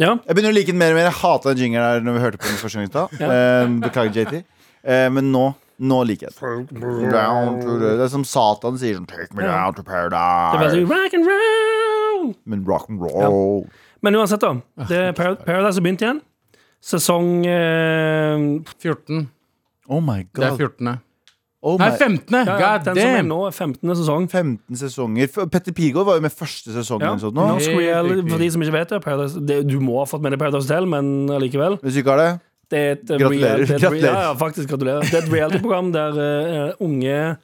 Speaker 4: Ja,
Speaker 3: Jeg begynner å like den mer og mer. Jeg hata den jingeren der når vi hørte på den første gang i stad. Eh, Beklager, JT. Eh, Men nå nå liker jeg den. Down to the- Det er som Satan sier sånn Take me down to
Speaker 4: det er veldig
Speaker 3: paradise.
Speaker 4: rock and roll.
Speaker 3: Men rock and roll.
Speaker 4: Men uansett, da. Det er Par- Paradise har begynt igjen. Sesong eh,
Speaker 2: 14.
Speaker 3: Oh my
Speaker 2: Det er
Speaker 3: god.
Speaker 2: 14.
Speaker 3: Oh
Speaker 2: Nei,
Speaker 3: my
Speaker 2: 15.
Speaker 4: ja,
Speaker 2: God
Speaker 4: Den som er
Speaker 2: damn!
Speaker 4: nå, er 15. sesong.
Speaker 3: 15 sesonger. F- Petter Pilgaard var jo med første sesongen.
Speaker 4: Ja.
Speaker 3: eller sånt nå.
Speaker 4: Norsk reality,
Speaker 2: riktig.
Speaker 4: for de som ikke vet det, Paradise, det Du må ha fått med deg Paradise Hotel, men allikevel.
Speaker 3: Hvis du ikke har det
Speaker 4: Det er et eh,
Speaker 3: Gratulerer.
Speaker 4: real- det er et
Speaker 3: Gratulerer.
Speaker 4: real- Ja, ja, faktisk, gratulerer. Det er et reality-program der eh, unge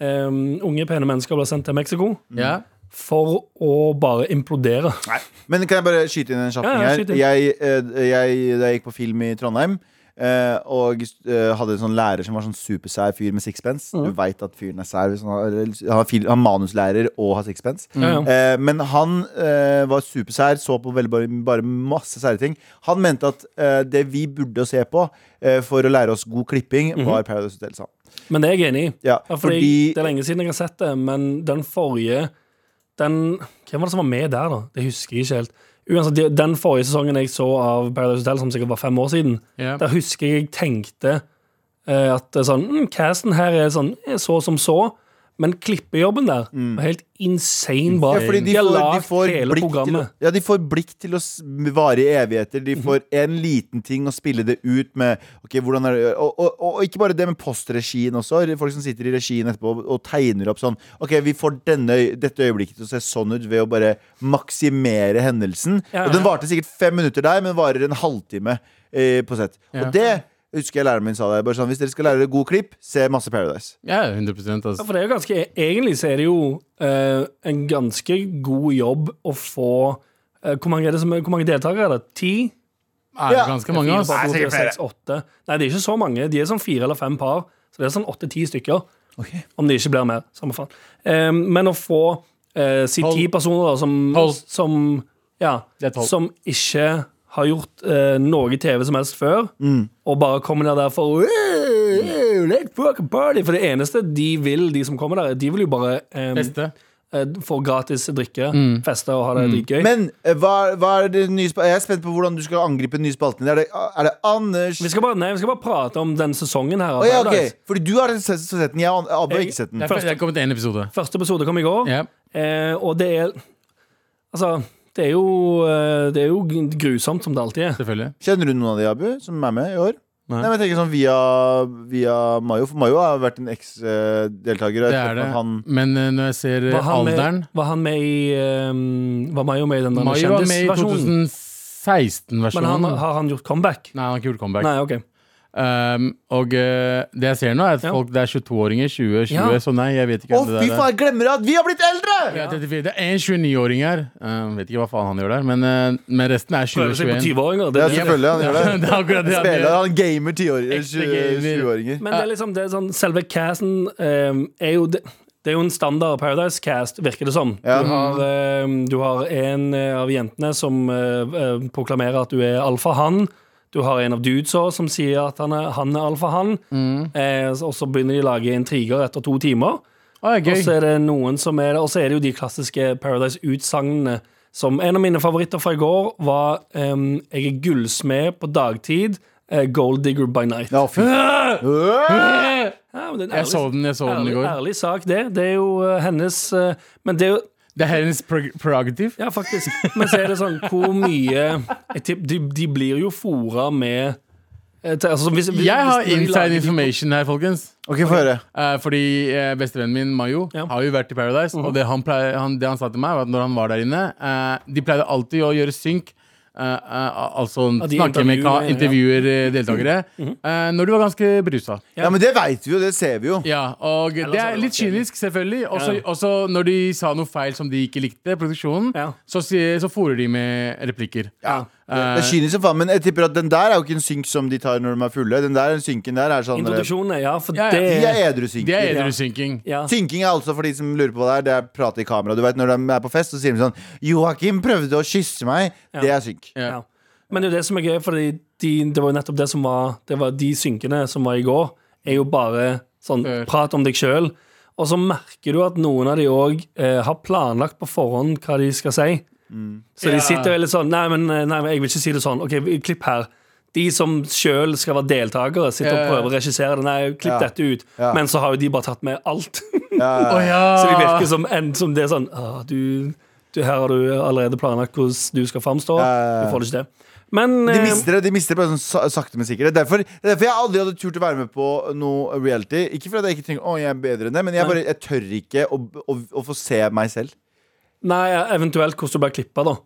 Speaker 4: eh, unge, pene mennesker blir sendt til Mexico
Speaker 2: Ja.
Speaker 4: for å bare implodere.
Speaker 3: Men kan jeg bare skyte inn en kjapp
Speaker 4: Ja,
Speaker 3: ting
Speaker 4: ja,
Speaker 3: her?
Speaker 4: skyt inn.
Speaker 3: Jeg, eh, jeg, da jeg gikk på film i Trondheim eh, og eh, hadde en sånn lærer som var sånn supersær fyr med sixpence.
Speaker 4: Mm.
Speaker 3: Du veit at fyren er sær. Hvis han, har, han, har fil, han er manuslærer og har sixpence.
Speaker 4: Ja, ja.
Speaker 3: Eh, men han eh, var supersær, så på veldig bare, bare masse sære ting. Han mente at eh, det vi burde se på eh, for å lære oss god klipping,
Speaker 4: Mhm.
Speaker 3: var Paradise Hotel. sa han.
Speaker 4: Men det er jeg enig i.
Speaker 3: Ja,
Speaker 4: Ja, fordi,
Speaker 3: fordi
Speaker 4: Det er lenge siden jeg har sett det, men den forrige den, Hvem var det som var med der, da? Det husker jeg ikke helt. Uansett, de- Den forrige sesongen jeg så av Paradise Hotel, som sikkert var fem år siden,
Speaker 2: Ja.
Speaker 4: der husker jeg jeg tenkte eh, at det er sånn mm, Casten her er sånn er så som så, men klippejobben der var helt insane bra.
Speaker 3: Mm. Ja, fordi de,
Speaker 4: har
Speaker 3: får, de,
Speaker 4: lagd
Speaker 3: får
Speaker 4: hele
Speaker 3: blikk til, å-
Speaker 4: programmet.
Speaker 3: ja, de får blikk til å s- vare i evigheter. De
Speaker 4: Mhm.
Speaker 3: får en liten ting å spille det ut med. Ok, hvordan er det Og, og, og, og ikke bare det, men postregien også. Folk som sitter i regien etterpå og, og tegner opp sånn. Ok, vi får denne, øy- dette øyeblikket til å se sånn ut ved å bare maksimere hendelsen.
Speaker 4: Ja, ja.
Speaker 3: Og den varte sikkert fem minutter der, men varer en halvtime eh, på sett.
Speaker 2: Ja.
Speaker 3: Og det husker jeg læreren min sa der. Bare sånn, hvis dere skal lære dere god klipp, se masse Paradise.
Speaker 2: ja, 100
Speaker 4: Ja,
Speaker 2: altså.
Speaker 4: for det er jo ganske Egentlig så er det jo eh, en ganske god jobb å få eh, hvor, mange er det som, hvor mange deltakere er det? Ti?
Speaker 2: Er det
Speaker 3: Ja.
Speaker 2: ganske mange, ass?
Speaker 3: Nei,
Speaker 4: Fire, par, to, tre,
Speaker 3: sikkert flere.
Speaker 4: seks, åtte. Nei, det er ikke så mange. De er sånn fire eller fem par. Så det er sånn åtte-ti stykker. Om det ikke blir mer. Samme faen. Eh, men å få eh, si
Speaker 2: Tolv.
Speaker 4: ti personer da, som,
Speaker 2: Tolv.
Speaker 4: som Ja.
Speaker 2: Det er tolv.
Speaker 4: Som ikke har gjort eh, noe TV som helst før,
Speaker 2: Mm.
Speaker 4: og bare kommer ned der for «Wow, wow, Let's fucking party! For det eneste de vil, de som kommer der, de vil jo bare eh,
Speaker 2: Beste.
Speaker 4: eh, få gratis drikke,
Speaker 3: Mm.
Speaker 4: feste og ha det dritgøy.
Speaker 3: Men eh, hva, hva er det nye spa- Jeg er spent på hvordan du skal angripe den nye spalten. Er det, er det Anders
Speaker 4: vi skal, bare, nei, vi skal bare prate om den sesongen her. av
Speaker 3: Å ja,
Speaker 4: Paradise.
Speaker 3: ok. Fordi du har sett sett den. Jeg og Abbe har
Speaker 4: Jeg-
Speaker 3: ikke sett den.
Speaker 2: Det er, det er kommet én episode.
Speaker 4: Første episode kom i går,
Speaker 2: Ja.
Speaker 4: eh, og det er Altså, det er jo eh, Det er jo grusomt, som det alltid er.
Speaker 2: Selvfølgelig.
Speaker 3: Kjenner du noen av de, Abu, som er med i år? Nei, men jeg tenker sånn via, via Mayo. For Mayo har vært en eks-deltaker.
Speaker 2: Det er det. Men eh, når jeg ser eh,
Speaker 4: Var han
Speaker 2: alderen
Speaker 4: med, var han med i eh, Var Mayo med i den der
Speaker 2: Mayo var med i
Speaker 4: kjendisversjonen? Men han,
Speaker 2: 2016-versjonen.
Speaker 4: har han gjort comeback?
Speaker 2: Nei, han har ikke gjort comeback.
Speaker 4: Nei, OK.
Speaker 2: Um, og eh, det jeg ser nå, er at
Speaker 4: Ja.
Speaker 2: folk det er 22-åringer, 20, 20,
Speaker 4: Ja.
Speaker 2: så nei, jeg vet ikke
Speaker 3: Å,
Speaker 2: hvem det
Speaker 3: fy
Speaker 2: der er.
Speaker 3: faen, jeg glemmer at vi har blitt eldre!
Speaker 2: Ja, det, det, det er en 29-åring her. Um, vet ikke hva faen han gjør der, men, eh, men resten er
Speaker 4: Prøver seg på
Speaker 2: 2021.
Speaker 4: 20-åringer.
Speaker 3: Ja,
Speaker 4: Det, er det.
Speaker 3: selvfølgelig. Han gjør det.
Speaker 2: *laughs* det er akkurat det. han
Speaker 3: Spiller
Speaker 2: gjør.
Speaker 3: han gamer 10-åringer,
Speaker 2: Ekte
Speaker 3: 20
Speaker 2: gamer.
Speaker 3: 20-åringer.
Speaker 4: Men det er liksom det er sånn, selve casten eh, er jo det, det er jo en standard Paradise-cast, virker det som.
Speaker 3: Ja.
Speaker 4: Du, har, eh, du har en eh, av jentene som eh, eh, proklamerer at du er alfahann. Du har en av dudesa som sier at han er, han er alfahann.
Speaker 2: Mm.
Speaker 4: Eh, og så begynner de å lage intriger etter to timer.
Speaker 2: Å, det
Speaker 4: Og
Speaker 2: er
Speaker 4: så
Speaker 2: gøy.
Speaker 4: er det noen som er Og så er det jo de klassiske Paradise-utsagnene. Som en av mine favoritter fra i går var ehm, 'Jeg er gullsmed på dagtid, eh, gold digger by night'.
Speaker 3: Ja,
Speaker 2: *laughs*
Speaker 3: fy.
Speaker 2: Eh,
Speaker 4: Ja, men det er en
Speaker 2: Jeg
Speaker 4: ærlig-
Speaker 2: så den jeg så den i
Speaker 4: Ærlig,
Speaker 2: går.
Speaker 4: ærlig sak, det. Det er jo eh, hennes eh, Men det er jo
Speaker 2: Det er hennes prog- prerogative.
Speaker 4: Ja, faktisk. Men så er det sånn hvor mye jeg tipp, de, de blir jo fora med eh, til- altså, hvis, hvis,
Speaker 2: Jeg har
Speaker 4: hvis de lager
Speaker 2: inside
Speaker 4: de-
Speaker 2: information her, folkens.
Speaker 3: Ok, få høre.
Speaker 2: Eh, fordi eh, bestevennen min, Mayo,
Speaker 4: Ja. Mhm.
Speaker 2: har jo vært i Paradise. Og det han, pleier, han, det han sa til meg, var at når han var der inne eh, De pleide alltid å gjøre synk eh, eh, altså
Speaker 4: de Mhm.
Speaker 2: snakke med ka-
Speaker 4: intervjuer,
Speaker 2: intervjuer eh, deltakere, eh, når du var ganske brusa.
Speaker 3: Ja, men det veit vi jo, det ser vi jo.
Speaker 2: Ja, og det
Speaker 4: så er
Speaker 2: er
Speaker 4: det
Speaker 2: litt
Speaker 4: vanskelig.
Speaker 2: kynisk, selvfølgelig. Også, også når de sa noe feil som de ikke likte, produksjonen,
Speaker 4: Ja.
Speaker 2: så, si- så fôrer de med replikker.
Speaker 4: Ja.
Speaker 3: Det er kynisk som faen, men jeg tipper at den der er jo ikke en synk som de tar når de er fulle. Den der, den synken der er sånn De
Speaker 4: Introduksjonene, ja, for
Speaker 2: Ja, ja,
Speaker 4: det
Speaker 3: er
Speaker 2: Det er
Speaker 3: edru-synker.
Speaker 2: edrusynking.
Speaker 4: ja.
Speaker 3: Synking er altså for de som lurer på hva det er, det er prat i kamera. Du vet, Når de er på fest, så sier de sånn 'Joakim prøvde å kysse meg.' Det er synk.
Speaker 2: Ja.
Speaker 4: Ja. Men det er jo det som er gøy, for de, det var jo nettopp det som var, det var De synkene som var i går, er jo bare sånn
Speaker 2: Før.
Speaker 4: prat om deg sjøl. Og så merker du at noen av de òg eh, har planlagt på forhånd hva de skal si. Så
Speaker 3: Mm.
Speaker 2: Ja.
Speaker 4: de sitter jo litt sånn nei men, nei, men jeg vil ikke si det sånn. OK, vi- klipp her. De som sjøl skal være deltakere, sitter og
Speaker 2: Ja, ja.
Speaker 4: prøver å regissere det. Nei,
Speaker 3: Ja.
Speaker 4: klipp dette ut.
Speaker 3: Ja.
Speaker 4: Men så har jo de bare tatt med alt.
Speaker 2: Å ja.
Speaker 4: Så de virker som, en, som det er sånn ah, du, du, Her har du allerede planlagt hvordan du skal framstå.
Speaker 3: Ja.
Speaker 4: Du får det ikke til. Men
Speaker 3: De
Speaker 4: eh,
Speaker 3: mister det de mister det bare sånn sa- sakte, men sikkert. Det er Derfor, det er derfor jeg aldri hadde turt å være med på noe reality. Ikke fordi jeg ikke tenker å, jeg er bedre enn det, men jeg, bare, jeg tør ikke å, å, å få se meg selv.
Speaker 4: nei, eventuelt hvordan du blir klippa, da.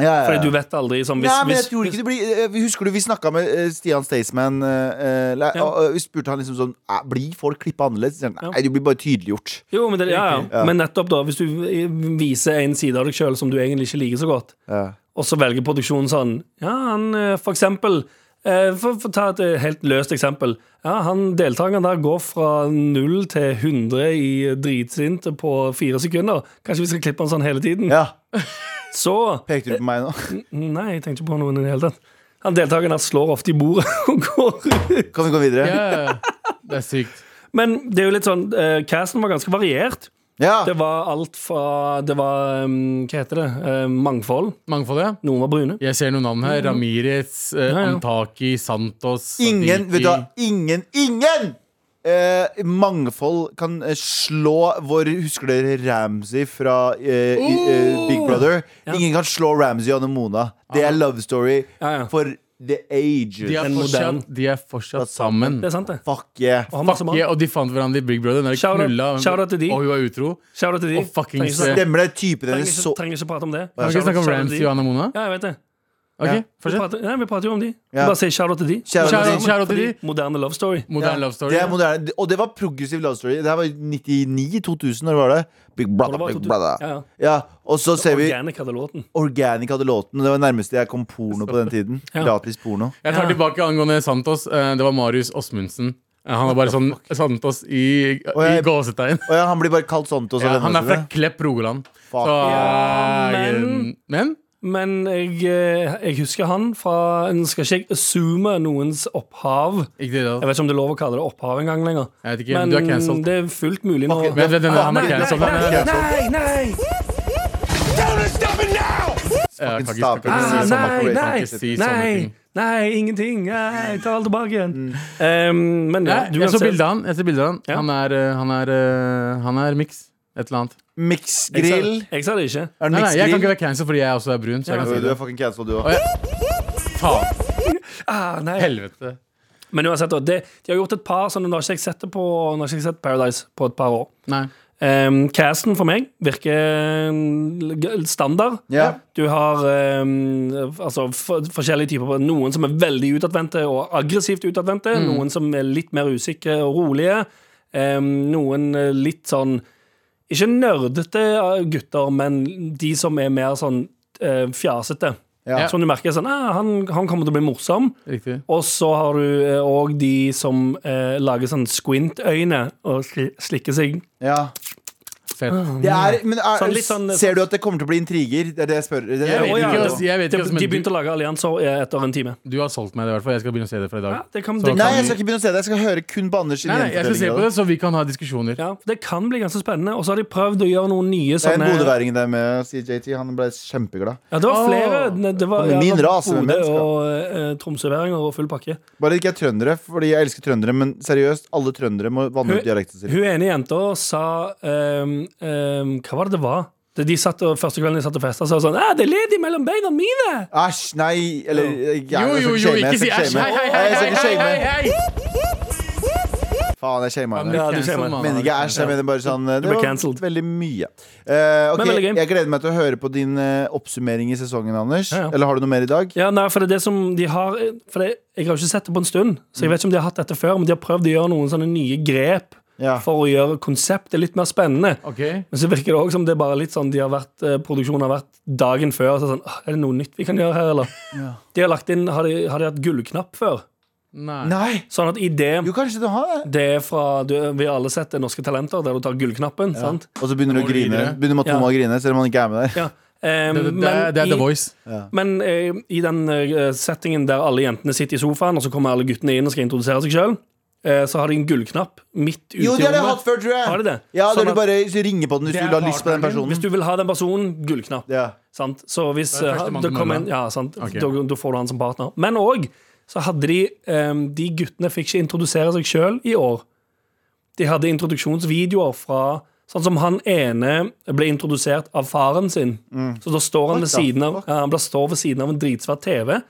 Speaker 3: Ja, ja, ja.
Speaker 4: Fordi du vet aldri sånn, hvis,
Speaker 3: Nei, men jeg
Speaker 4: hvis,
Speaker 3: tror ikke det blir eh, Husker du vi snakka med eh, Stian Staysman? eh, eh, le-
Speaker 4: Ja.
Speaker 3: og, eh, Vi spurte han liksom sånn «Æ, Blir folk klippa annerledes? Sier han,
Speaker 4: Ja.
Speaker 3: Nei, du blir bare tydeliggjort.
Speaker 4: Jo, men, det, ja, ja.
Speaker 3: Ja.
Speaker 4: men nettopp, da. Hvis du viser en side av deg sjøl som du egentlig ikke liker så godt,
Speaker 3: Ja.
Speaker 4: og så velger produksjonen sånn Ja, han eh, for eksempel eh, For for å ta et eh, helt løst eksempel. Ja, han Deltakeren der går fra 0 til 100 i dritsinte på fire sekunder. Kanskje vi skal klippe han sånn hele tiden?
Speaker 3: ja.
Speaker 4: Så
Speaker 3: Pekte du på
Speaker 4: *laughs*
Speaker 3: meg nå?
Speaker 4: Nei, jeg tenkte ikke på noen i det hele tatt. Han Deltakeren her slår ofte i bordet *laughs* og går ut.
Speaker 3: Kan vi gå videre?
Speaker 2: Ja, ja, ja. Det er sykt.
Speaker 4: Men det er jo litt sånn eh, Casten var ganske variert.
Speaker 2: Ah.
Speaker 3: Ja.
Speaker 4: Det var alt fra Det var um, Hva heter det? Eh, mangfold.
Speaker 2: Mangfoldet, ja.
Speaker 4: Noen var brune.
Speaker 2: Jeg ser noen navn her. Ramirez, eh,
Speaker 4: Ja, ja.
Speaker 2: Antaki, Santos
Speaker 3: Ingen,
Speaker 2: Sadiki.
Speaker 3: vet du hva, ingen, ingen eh, mangfold kan eh, slå vår Husker dere Ramsey fra eh, i, eh,
Speaker 4: Oh!
Speaker 3: Big Brother? Ingen kan slå Ramsey og Anemona. Det er love story
Speaker 4: Ja, ja.
Speaker 3: for the ages.
Speaker 2: de er,
Speaker 4: En moderne.
Speaker 2: fortsatt, de er fortsatt sammen.
Speaker 4: Det er sant, det.
Speaker 3: Fuck yeah.
Speaker 4: Og han masse mann.
Speaker 2: Ja, og de fant hverandre i Big Brother. Når de
Speaker 4: Shout out-
Speaker 2: knulla,
Speaker 4: shout out til de.
Speaker 2: og hun var utro.
Speaker 4: Shout out til de.
Speaker 2: Og fucking
Speaker 4: trenger, ikke, snakke-
Speaker 2: se.
Speaker 3: Stemmer det? Typen
Speaker 4: trenger,
Speaker 3: deres
Speaker 4: ikke,
Speaker 3: så
Speaker 4: trenger ikke prate om det.
Speaker 2: Kan vi ikke snakke om Ramsey og Anna Mona?
Speaker 4: Ja, jeg vet det.
Speaker 2: Ok,
Speaker 4: Vi
Speaker 2: fortsett.
Speaker 4: prater, nei, vi prater jo om de.
Speaker 3: Ja.
Speaker 4: Bare si shout out til de.
Speaker 3: Shout out til de.
Speaker 2: Shout out til
Speaker 4: Fordi
Speaker 2: de.
Speaker 4: Moderne love story.
Speaker 3: Ja,
Speaker 2: Moderne love story.
Speaker 3: Det er moderne. Og det var progressiv love story. Det her var 99-2000, når var det? Big brother,
Speaker 4: det var
Speaker 3: big
Speaker 4: 2000.
Speaker 3: brother.
Speaker 4: Ja, ja.
Speaker 3: og så ser vi
Speaker 4: Organic hadde låten.
Speaker 3: Organic hadde låten. Det var nærmest jeg kom porno på den tiden.
Speaker 4: Ja.
Speaker 3: Gratis porno.
Speaker 2: Jeg tar
Speaker 4: Ja.
Speaker 2: tilbake angående Santos. Eh, Det var Marius Osmundsen. Eh, Han er bare sånn Santos i, i
Speaker 3: jeg-
Speaker 2: gåsetegn.
Speaker 3: Og ja, han blir bare kalt sånt og så
Speaker 2: Ja,
Speaker 3: denne
Speaker 2: han er
Speaker 3: også,
Speaker 2: fra
Speaker 3: det.
Speaker 2: Klepp, Rogaland.
Speaker 3: Fuck.
Speaker 2: Så,
Speaker 4: Ja, men-
Speaker 2: eh, men
Speaker 4: Men jeg, eh, jeg husker han fra Nå skal ikke jeg assume noens opphav.
Speaker 2: Ikke det,
Speaker 4: Jeg
Speaker 2: da.
Speaker 4: vet ikke om det er lov å kalle det opphav engang lenger.
Speaker 2: Jeg vet ikke, men du er cancelled.
Speaker 4: det er fullt mulig nå.
Speaker 3: Ok,
Speaker 2: Vent, vent, vent, han er
Speaker 4: Nei, nei,
Speaker 2: cancelled.
Speaker 4: nei,
Speaker 2: Han er-
Speaker 4: nei, nei,
Speaker 2: Ja, jeg kan ikke-
Speaker 3: Fucking
Speaker 2: kan ikke si
Speaker 4: Ah,
Speaker 2: sånne-
Speaker 4: nei,
Speaker 2: kan ikke
Speaker 4: nei,
Speaker 2: si sånne
Speaker 4: nei,
Speaker 2: ting. Mm.
Speaker 4: nei, ingenting. Nei, jeg tar alt tilbake igjen. Ehm, men ja,
Speaker 2: Nei, Jeg så
Speaker 4: uansett-
Speaker 2: bildet av han. Jeg så bildet av han.
Speaker 4: Ja.
Speaker 2: Han er, eh, han er, eh, han er mix. Et eller annet.
Speaker 4: Jeg sa det-
Speaker 3: Mixgrill.
Speaker 4: Jeg sa det ikke.
Speaker 3: Er det
Speaker 2: Nei, nei, jeg kan ikke
Speaker 3: mixgrill?
Speaker 2: være cancel fordi jeg også er brun. Så jeg kan si
Speaker 3: Du
Speaker 2: det.
Speaker 3: er fucking cancel, du
Speaker 2: Å,
Speaker 3: òg.
Speaker 2: ja. Faen.
Speaker 4: Ah, nei.
Speaker 2: Helvete.
Speaker 4: Men uansett, da, det, de har gjort et par sånne. Nå har ikke jeg sett det på Nå har ikke jeg sett Paradise på et par år.
Speaker 2: Nei.
Speaker 4: Ehm, casten for meg virker mm, standard.
Speaker 3: Ja.
Speaker 4: Du har ehm, altså, for, forskjellige typer Noen som er veldig utadvendte og aggressivt utadvendte.
Speaker 3: Mm.
Speaker 4: Noen som er litt mer usikre og rolige. Ehm, noen eh, litt sånn Ikke nerdete eh, gutter, men de som er mer sånn eh, fjasete.
Speaker 3: Ja.
Speaker 4: Som du merker sånn ah, han, 'Han kommer til å bli morsom'.
Speaker 2: Riktig.
Speaker 4: Og så har du òg de som eh, lager sånn squint-øyne og sli- slikker seg.
Speaker 3: ja.
Speaker 2: Fett.
Speaker 4: Ah.
Speaker 3: Det er,
Speaker 2: Mm.
Speaker 3: men er,
Speaker 4: Sånn litt sånn-
Speaker 3: ser du at det kommer til å bli intriger? Det er det jeg spør. Det
Speaker 2: Jeg
Speaker 3: er,
Speaker 2: vet
Speaker 4: Å, ja,
Speaker 2: ikke,
Speaker 4: det-
Speaker 2: ass. Jeg vet ikke, ass,
Speaker 4: de,
Speaker 2: men
Speaker 4: de begynte å lage allianser eh, etter en time.
Speaker 2: Du har solgt meg det, i hvert fall. Jeg skal begynne å se det fra i dag.
Speaker 4: Ja, det kan,
Speaker 2: Så
Speaker 4: det kan,
Speaker 3: Nei, jeg skal ikke begynne å se det. Jeg skal høre kun på Anders sine
Speaker 2: Nei, nei, jeg skal se på
Speaker 3: gjenfortellinger.
Speaker 2: det, så vi kan ha diskusjoner.
Speaker 4: ja, det kan bli ganske spennende. Og så har de prøvd å gjøre noen nye
Speaker 3: Det er en
Speaker 4: sånne
Speaker 3: bodøværing der med CJT. Han ble kjempeglad.
Speaker 4: Ja, det var flere.
Speaker 2: Åh.
Speaker 4: Ne, Det var,
Speaker 3: Det er min
Speaker 4: det var
Speaker 3: rase med
Speaker 4: Bodø
Speaker 3: mennesker.
Speaker 4: og eh, tromsøværinger og full pakke.
Speaker 3: Bare ikke er trøndere, fordi jeg elsker trøndere, men seriøst, alle trøndere må vanne
Speaker 4: Hun,
Speaker 3: ut dialekten sin.
Speaker 4: hun ene jenta sa ehm, ehm, Hva var det det var? Det De satt og, første kvelden de satt og festa, sa hun sånn «Ah, 'Det er ledig mellom beina mine!'
Speaker 3: Æsj, nei, eller eh, jeg- jeg
Speaker 2: Jo,
Speaker 3: skal
Speaker 2: jo, jo,
Speaker 3: shame, jeg
Speaker 2: ikke
Speaker 3: skal
Speaker 2: si æsj!
Speaker 3: shame.
Speaker 2: Hei, hei,
Speaker 3: Nei,
Speaker 2: hei!
Speaker 3: jeg skal ikke
Speaker 2: hei,
Speaker 3: shame.
Speaker 2: hei, hei.
Speaker 3: Faen, jeg shama henne.
Speaker 4: Ja, du ser meg.
Speaker 2: Cancel, mann.
Speaker 3: Mener ikke æsj, jeg mener bare sånn eh,
Speaker 4: ble
Speaker 3: Det
Speaker 4: cancelled.
Speaker 3: var veldig mye. Eh, ok,
Speaker 4: Men veldig gøy.
Speaker 3: jeg gleder meg til å høre på din eh, oppsummering i sesongen, Anders.
Speaker 4: Ja, ja.
Speaker 3: Eller har du noe mer i dag?
Speaker 4: Ja, nei, for det er det som de har For det, Jeg har jo ikke sett det på en stund,
Speaker 3: Mm.
Speaker 4: så jeg vet ikke om de har hatt dette før, men de har prøvd å gjøre noen sånne nye grep
Speaker 3: Ja.
Speaker 4: for å gjøre konseptet litt mer spennende.
Speaker 2: Ok,
Speaker 4: Men så virker det også som det er bare litt sånn de har vært, eh, produksjonen har vært dagen før. Så er det sånn, «Åh, er det noe nytt vi kan gjøre her, eller? De har lagt inn, har de, har de hatt gullknapp før?
Speaker 2: nei.
Speaker 3: Nei!
Speaker 4: Sånn at i det
Speaker 3: Jo, kanskje du har det.
Speaker 4: det er fra, du, Vi har alle sett det Norske Talenter, der du tar gullknappen. sant?
Speaker 3: Og så begynner du å
Speaker 2: Går du
Speaker 3: grine.
Speaker 2: videre?
Speaker 3: Begynner Matoma å grine, selv om han ikke er med der.
Speaker 4: Ja. Eh,
Speaker 2: Det, det, det, er-
Speaker 4: men
Speaker 2: det er The
Speaker 4: i-
Speaker 2: Voice.
Speaker 4: Men eh, i den eh, settingen der alle jentene sitter i sofaen, og så kommer alle guttene inn og skal introdusere seg sjøl, eh, så har de en gullknapp midt ute i
Speaker 3: Jo, det har jeg hatt
Speaker 4: rommet.
Speaker 3: før, tror jeg.
Speaker 4: Har de det?
Speaker 3: Ja,
Speaker 4: Sånn
Speaker 3: da
Speaker 4: at-
Speaker 3: du bare ringer på den
Speaker 2: Det
Speaker 3: hvis du
Speaker 2: er
Speaker 3: vil ha lyst på den
Speaker 2: partneren din.
Speaker 3: personen.
Speaker 4: Hvis du vil ha den personen, gullknapp.
Speaker 3: Ja.
Speaker 4: Sant? Så hvis
Speaker 2: Det er
Speaker 4: eh,
Speaker 2: førstemann
Speaker 4: det
Speaker 2: til
Speaker 4: kommer
Speaker 2: mølla.
Speaker 4: en, ja, sant?
Speaker 2: Ok.
Speaker 4: Da, da får du han som partner. Men òg så hadde de eh, De guttene fikk ikke introdusere seg sjøl i år. De hadde introduksjonsvideoer fra Sånn som han ene ble introdusert av faren sin. Så da står han
Speaker 3: What
Speaker 4: ved
Speaker 3: the
Speaker 4: siden av
Speaker 3: fuck?
Speaker 4: ja, Han bare står ved siden av en dritsvær TV.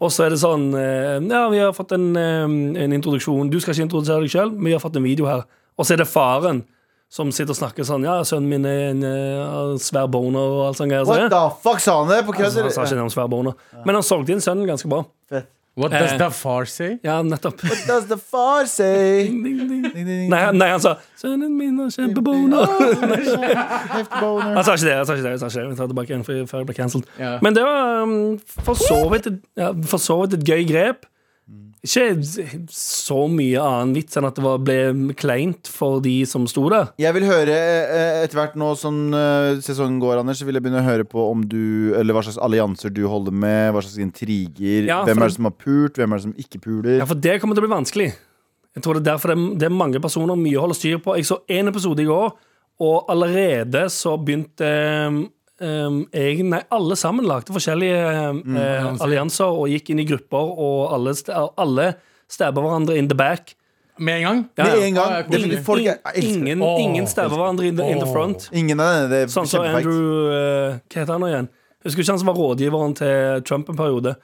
Speaker 4: Og så er det sånn eh, Ja, vi har fått en, eh, en introduksjon. Du skal ikke introdusere deg sjøl, men vi har fått en video her. Og så er det faren som sitter og snakker sånn Ja, sønnen min er en eh, svær boner og alt sånt. greier. Så
Speaker 3: What
Speaker 4: det-
Speaker 3: the fuck, sa han det? På kødd?
Speaker 4: Altså, han sa ikke
Speaker 3: eller?
Speaker 4: det om svær boner. Men han solgte inn sønnen ganske bra.
Speaker 3: Fett.
Speaker 2: What does
Speaker 4: Eh.
Speaker 2: the far say?
Speaker 4: Ja, nettopp.
Speaker 3: What does the far
Speaker 4: *laughs*
Speaker 3: say?
Speaker 4: Ding, ding.
Speaker 3: Ding, ding, ding. *laughs*
Speaker 4: Nei, han- nei, han sa 'sønnen min har kjempeboner'.
Speaker 3: Heftig boner.
Speaker 4: Han sa ikke det. han sa ikke det, han sa ikke det. Vi tar det tilbake igjen før før det ble cancelled.
Speaker 2: Ja.
Speaker 4: Men det var um, for så vidt et- ja, for så vidt et gøy grep. Ikke så mye annen vits enn at det var, ble kleint for de som sto der.
Speaker 3: Jeg vil høre eh, etter hvert nå som eh, sesongen går, Anders, så vil jeg begynne å høre på om du Eller hva slags allianser du holder med, hva slags intriger.
Speaker 4: Ja,
Speaker 3: hvem
Speaker 4: for-
Speaker 3: er det som har pult, hvem er det som ikke puler?
Speaker 4: Ja, For det kommer til å bli vanskelig. Jeg tror Det er derfor det, det er mange personer mye å holde styr på. Jeg så én episode i går, og allerede så begynte um, um, jeg, nei, alle sammen lagde forskjellige um,
Speaker 3: Mm,
Speaker 4: eh, allianser og gikk inn i grupper, og alle, st- alle stabba hverandre in the back.
Speaker 2: Med en gang?
Speaker 4: Ja,
Speaker 3: Med
Speaker 4: ja.
Speaker 3: en gang.
Speaker 2: Ja, ja,
Speaker 3: det er
Speaker 2: koselig.
Speaker 3: fordi folk er, jeg elsker
Speaker 4: Ingen,
Speaker 2: Åh,
Speaker 4: ingen stabba hverandre in the, in the
Speaker 2: Åh.
Speaker 4: front.
Speaker 3: Ingen av denne. Det er
Speaker 4: Sånn som
Speaker 3: kjempefight.
Speaker 4: Andrew eh, Hva heter han nå igjen? Husker ikke han som var rådgiveren til Trump en periode?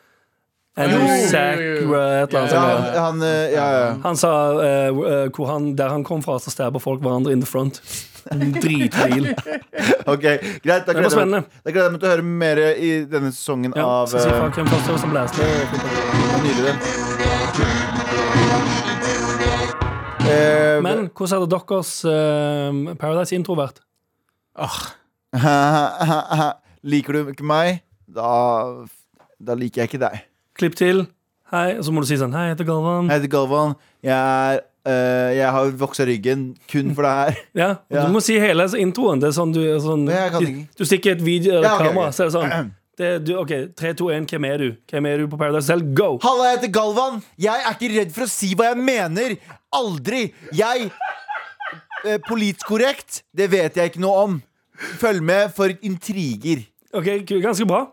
Speaker 4: Andrew
Speaker 2: Jo, jo, jo, jo.
Speaker 4: Sack, eh, et eller annet.
Speaker 3: Ja,
Speaker 4: sånt.
Speaker 3: han, han eh, ja, ja.
Speaker 4: Han sa eh, eh, hvor han, der han kom fra, så stabber folk hverandre in the front.
Speaker 3: *laughs*
Speaker 4: Dritfil.
Speaker 3: Ok, greit. Da
Speaker 4: var
Speaker 3: gleder, jeg
Speaker 4: spennende.
Speaker 3: meg, da gleder jeg meg til å høre mer i denne sesongen
Speaker 4: Ja,
Speaker 3: av
Speaker 4: skal si
Speaker 3: eh,
Speaker 4: fra hvem først som blæste.
Speaker 3: Nydelig, den. Eh,
Speaker 4: Men hvordan hadde deres eh, Paradise-intro vært?
Speaker 3: Eh, Liker du ikke meg, da, da liker jeg ikke deg.
Speaker 4: Klipp til. Hei, og så må du si sånn Hei, jeg heter Galvan.
Speaker 3: Jeg heter Galvan. Jeg, er, eh, jeg har voksa ryggen kun for det her.
Speaker 4: Ja, og
Speaker 3: Ja.
Speaker 4: Du må si hele introen. Det er sånn du er sånn,
Speaker 3: Nei, jeg kan
Speaker 4: du,
Speaker 3: ikke.
Speaker 4: du stikker et video eller
Speaker 3: Ja, ok,
Speaker 4: kamera,
Speaker 3: ok.
Speaker 4: så er det
Speaker 3: *clears throat*
Speaker 4: sånn det, er du, OK, 3, 2, 1, hvem er du? Hvem er du på Paradise Hotel? Go!
Speaker 3: *laughs* Halla, jeg heter Galvan. Jeg er ikke redd for å si hva jeg mener. Aldri. Jeg eh, Politisk korrekt, det vet jeg ikke noe om. Følg med for intriger.
Speaker 4: Ok, k- Ganske bra.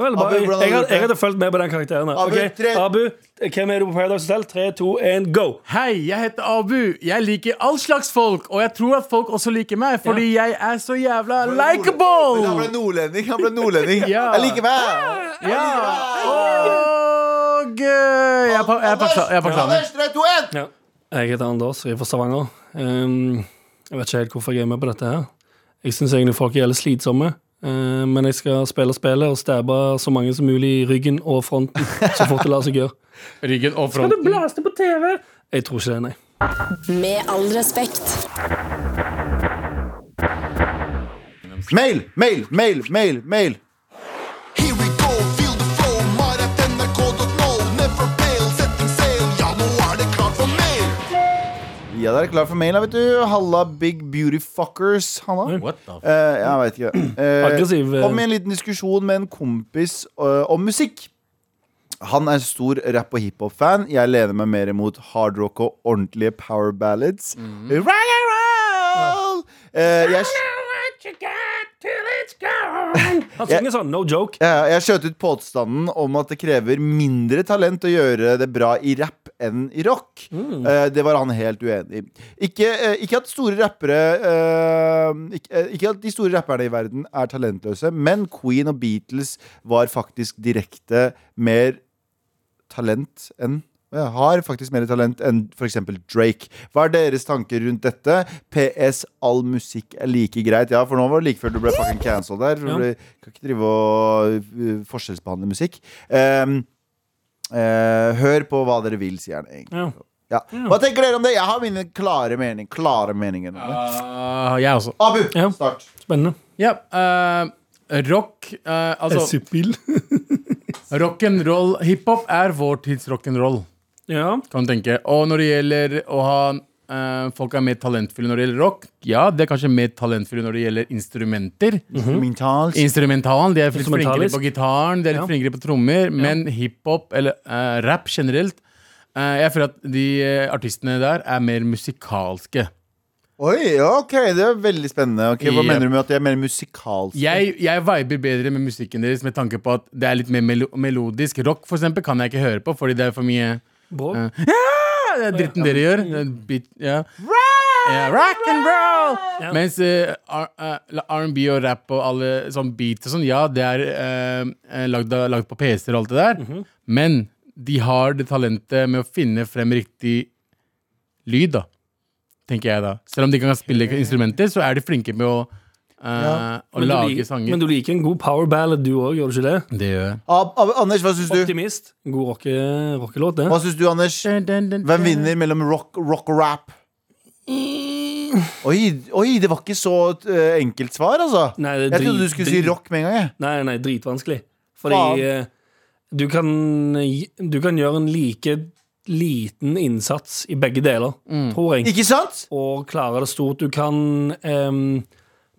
Speaker 4: Veldig bra.
Speaker 3: Mm. Abu, hvordan
Speaker 4: Jeg,
Speaker 3: har
Speaker 4: jeg,
Speaker 3: du
Speaker 4: hadde-
Speaker 3: gjort det?
Speaker 4: jeg hadde fulgt med på den karakteren. her.
Speaker 3: Abu,
Speaker 4: Ok,
Speaker 3: tre-
Speaker 4: Abu, hvem er du på Paradise Hotel? 3, 2, 1, go!
Speaker 2: Hei, jeg heter Abu. Jeg liker all slags folk, og jeg tror at folk også liker meg, fordi jeg er så jævla
Speaker 3: Men Han ble
Speaker 2: likeable!
Speaker 3: nordlending. Han ble nordlending.
Speaker 2: *laughs* Ja.
Speaker 3: Jeg liker meg.
Speaker 2: Ja. Og eh, jeg er pa- jeg er paksta- jeg er pakistaner.
Speaker 3: Anders, 3, 2, 1.
Speaker 4: Ja. Jeg heter Anders, jeg er fra Stavanger. Ehm, jeg vet ikke helt hvorfor jeg er med på dette her. Jeg syns egentlig folk er jævlig slitsomme. ehm, men jeg skal spille spillet og stabbe så mange som mulig i ryggen og fronten så fort det lar seg gjøre.
Speaker 2: Ryggen og fronten.
Speaker 4: blaste på TV? Jeg tror ikke det, nei.
Speaker 1: Med all respekt.
Speaker 3: Mail, mail, mail, mail. mail
Speaker 5: Here we go, feel the flow, maratnrk.no. Never fail, setting sail. Ja, nå er det klart for mer.
Speaker 3: Ja, dere er klar for mail, da, vet du. Halla, big beauty fuckers. Halla.
Speaker 2: What the f...
Speaker 3: Eh, jeg
Speaker 2: *clears throat*
Speaker 3: veit ikke. Eh,
Speaker 4: Aggressiv, eh.
Speaker 3: Kom i en liten diskusjon med en kompis eh, om musikk. Han er stor rapp- og hiphop-fan. Jeg lener meg mer mot hardrock og ordentlige power ballads.
Speaker 2: Mm.
Speaker 3: Rock and roll! Eh, jeg,
Speaker 4: Han synger sånn, no joke.
Speaker 3: Ja, jeg skjøt ut påstanden om at det krever mindre talent å gjøre det bra i rap enn i rock. Eh, det var han helt uenig i. Ikke, eh, ikke at store rappere eh, ikke, eh, ikke at de store rapperne i verden er talentløse, men Queen og Beatles var faktisk direkte mer talent enn eh, har faktisk mer talent enn f.eks. Drake. Hva er deres tanker rundt dette? PS all musikk er like greit. Ja, for nå var det like før du ble fucking cancelled der. For
Speaker 4: Ja.
Speaker 3: du kan ikke drive og eh, forskjellsbehandle musikk. Ehm, eh, hør på hva dere vil, sier han egentlig.
Speaker 4: Ja.
Speaker 3: Ja. Hva tenker dere om det? Jeg har mine klare, mening, klare meninger. om det.
Speaker 2: Uh, jeg også.
Speaker 3: Abu,
Speaker 4: Ja.
Speaker 3: start.
Speaker 4: Spennende.
Speaker 2: Ja, eh, rock eh, Altså,
Speaker 4: Supil.
Speaker 2: rock'n'roll Hiphop er vår tids rock'n'roll,
Speaker 4: ja.
Speaker 2: kan du tenke. Og når det gjelder å ha eh, Folk er mer talentfulle når det gjelder rock. Ja, de er kanskje mer talentfulle når det gjelder instrumenter.
Speaker 3: Instrumentals.
Speaker 2: Instrumentalen, de er litt flinkere
Speaker 4: Instrumentalisk.
Speaker 2: på gitaren, de er litt
Speaker 4: Ja.
Speaker 2: flinkere på trommer, men hiphop, eller eh, rap generelt eh, Jeg føler at de eh, artistene der er mer musikalske.
Speaker 3: Oi, ja, ok, det er veldig spennende. Ok, Hva
Speaker 2: Ja.
Speaker 3: mener du med at de er mer musikalske?
Speaker 2: Jeg, jeg viber bedre med musikken deres med tanke på at det er litt mer melo melodisk. Rock for eksempel, kan jeg ikke høre på fordi det er for mye
Speaker 4: Bra.
Speaker 2: ah, det er dritten dere gjør.
Speaker 4: Mm.
Speaker 2: Det er Beat, ja. Ja, rock and roll!
Speaker 4: Ja.
Speaker 2: Mens eh, R- eh, R&B og rap og alle sånn beats og sånn, ja, det er eh, lagd, av- lagd på PC-er og alt det der,
Speaker 4: Mhm.
Speaker 2: men de har det talentet med å finne frem riktig lyd, da. Tenker jeg, da. Selv om de ikke kan spille instrumenter, så er de flinke med å, eh, å
Speaker 4: Men du
Speaker 2: lage
Speaker 4: liker-
Speaker 2: sanger.
Speaker 4: Men du liker en god power ballad, du òg, gjør du ikke det?
Speaker 2: Det gjør jeg.
Speaker 3: Ab Ab Anders, hva syns du?
Speaker 4: Optimist. En god rocke- rockelåt, det.
Speaker 3: Hva syns du, Anders? Hvem vinner mellom rock, rock og rap? Oi, oi, det var ikke så eh, enkelt svar, altså.
Speaker 4: Nei, det er
Speaker 3: jeg trodde
Speaker 4: drit-
Speaker 3: du skulle si
Speaker 4: drit-
Speaker 3: rock med en gang. jeg
Speaker 4: Nei, nei, dritvanskelig.
Speaker 3: Faen.
Speaker 4: Fordi eh, du kan, gi- du kan gjøre en like liten innsats i begge deler, tror jeg.
Speaker 3: Mm. Ikke sant?
Speaker 4: og klare det stort. Du kan ehm,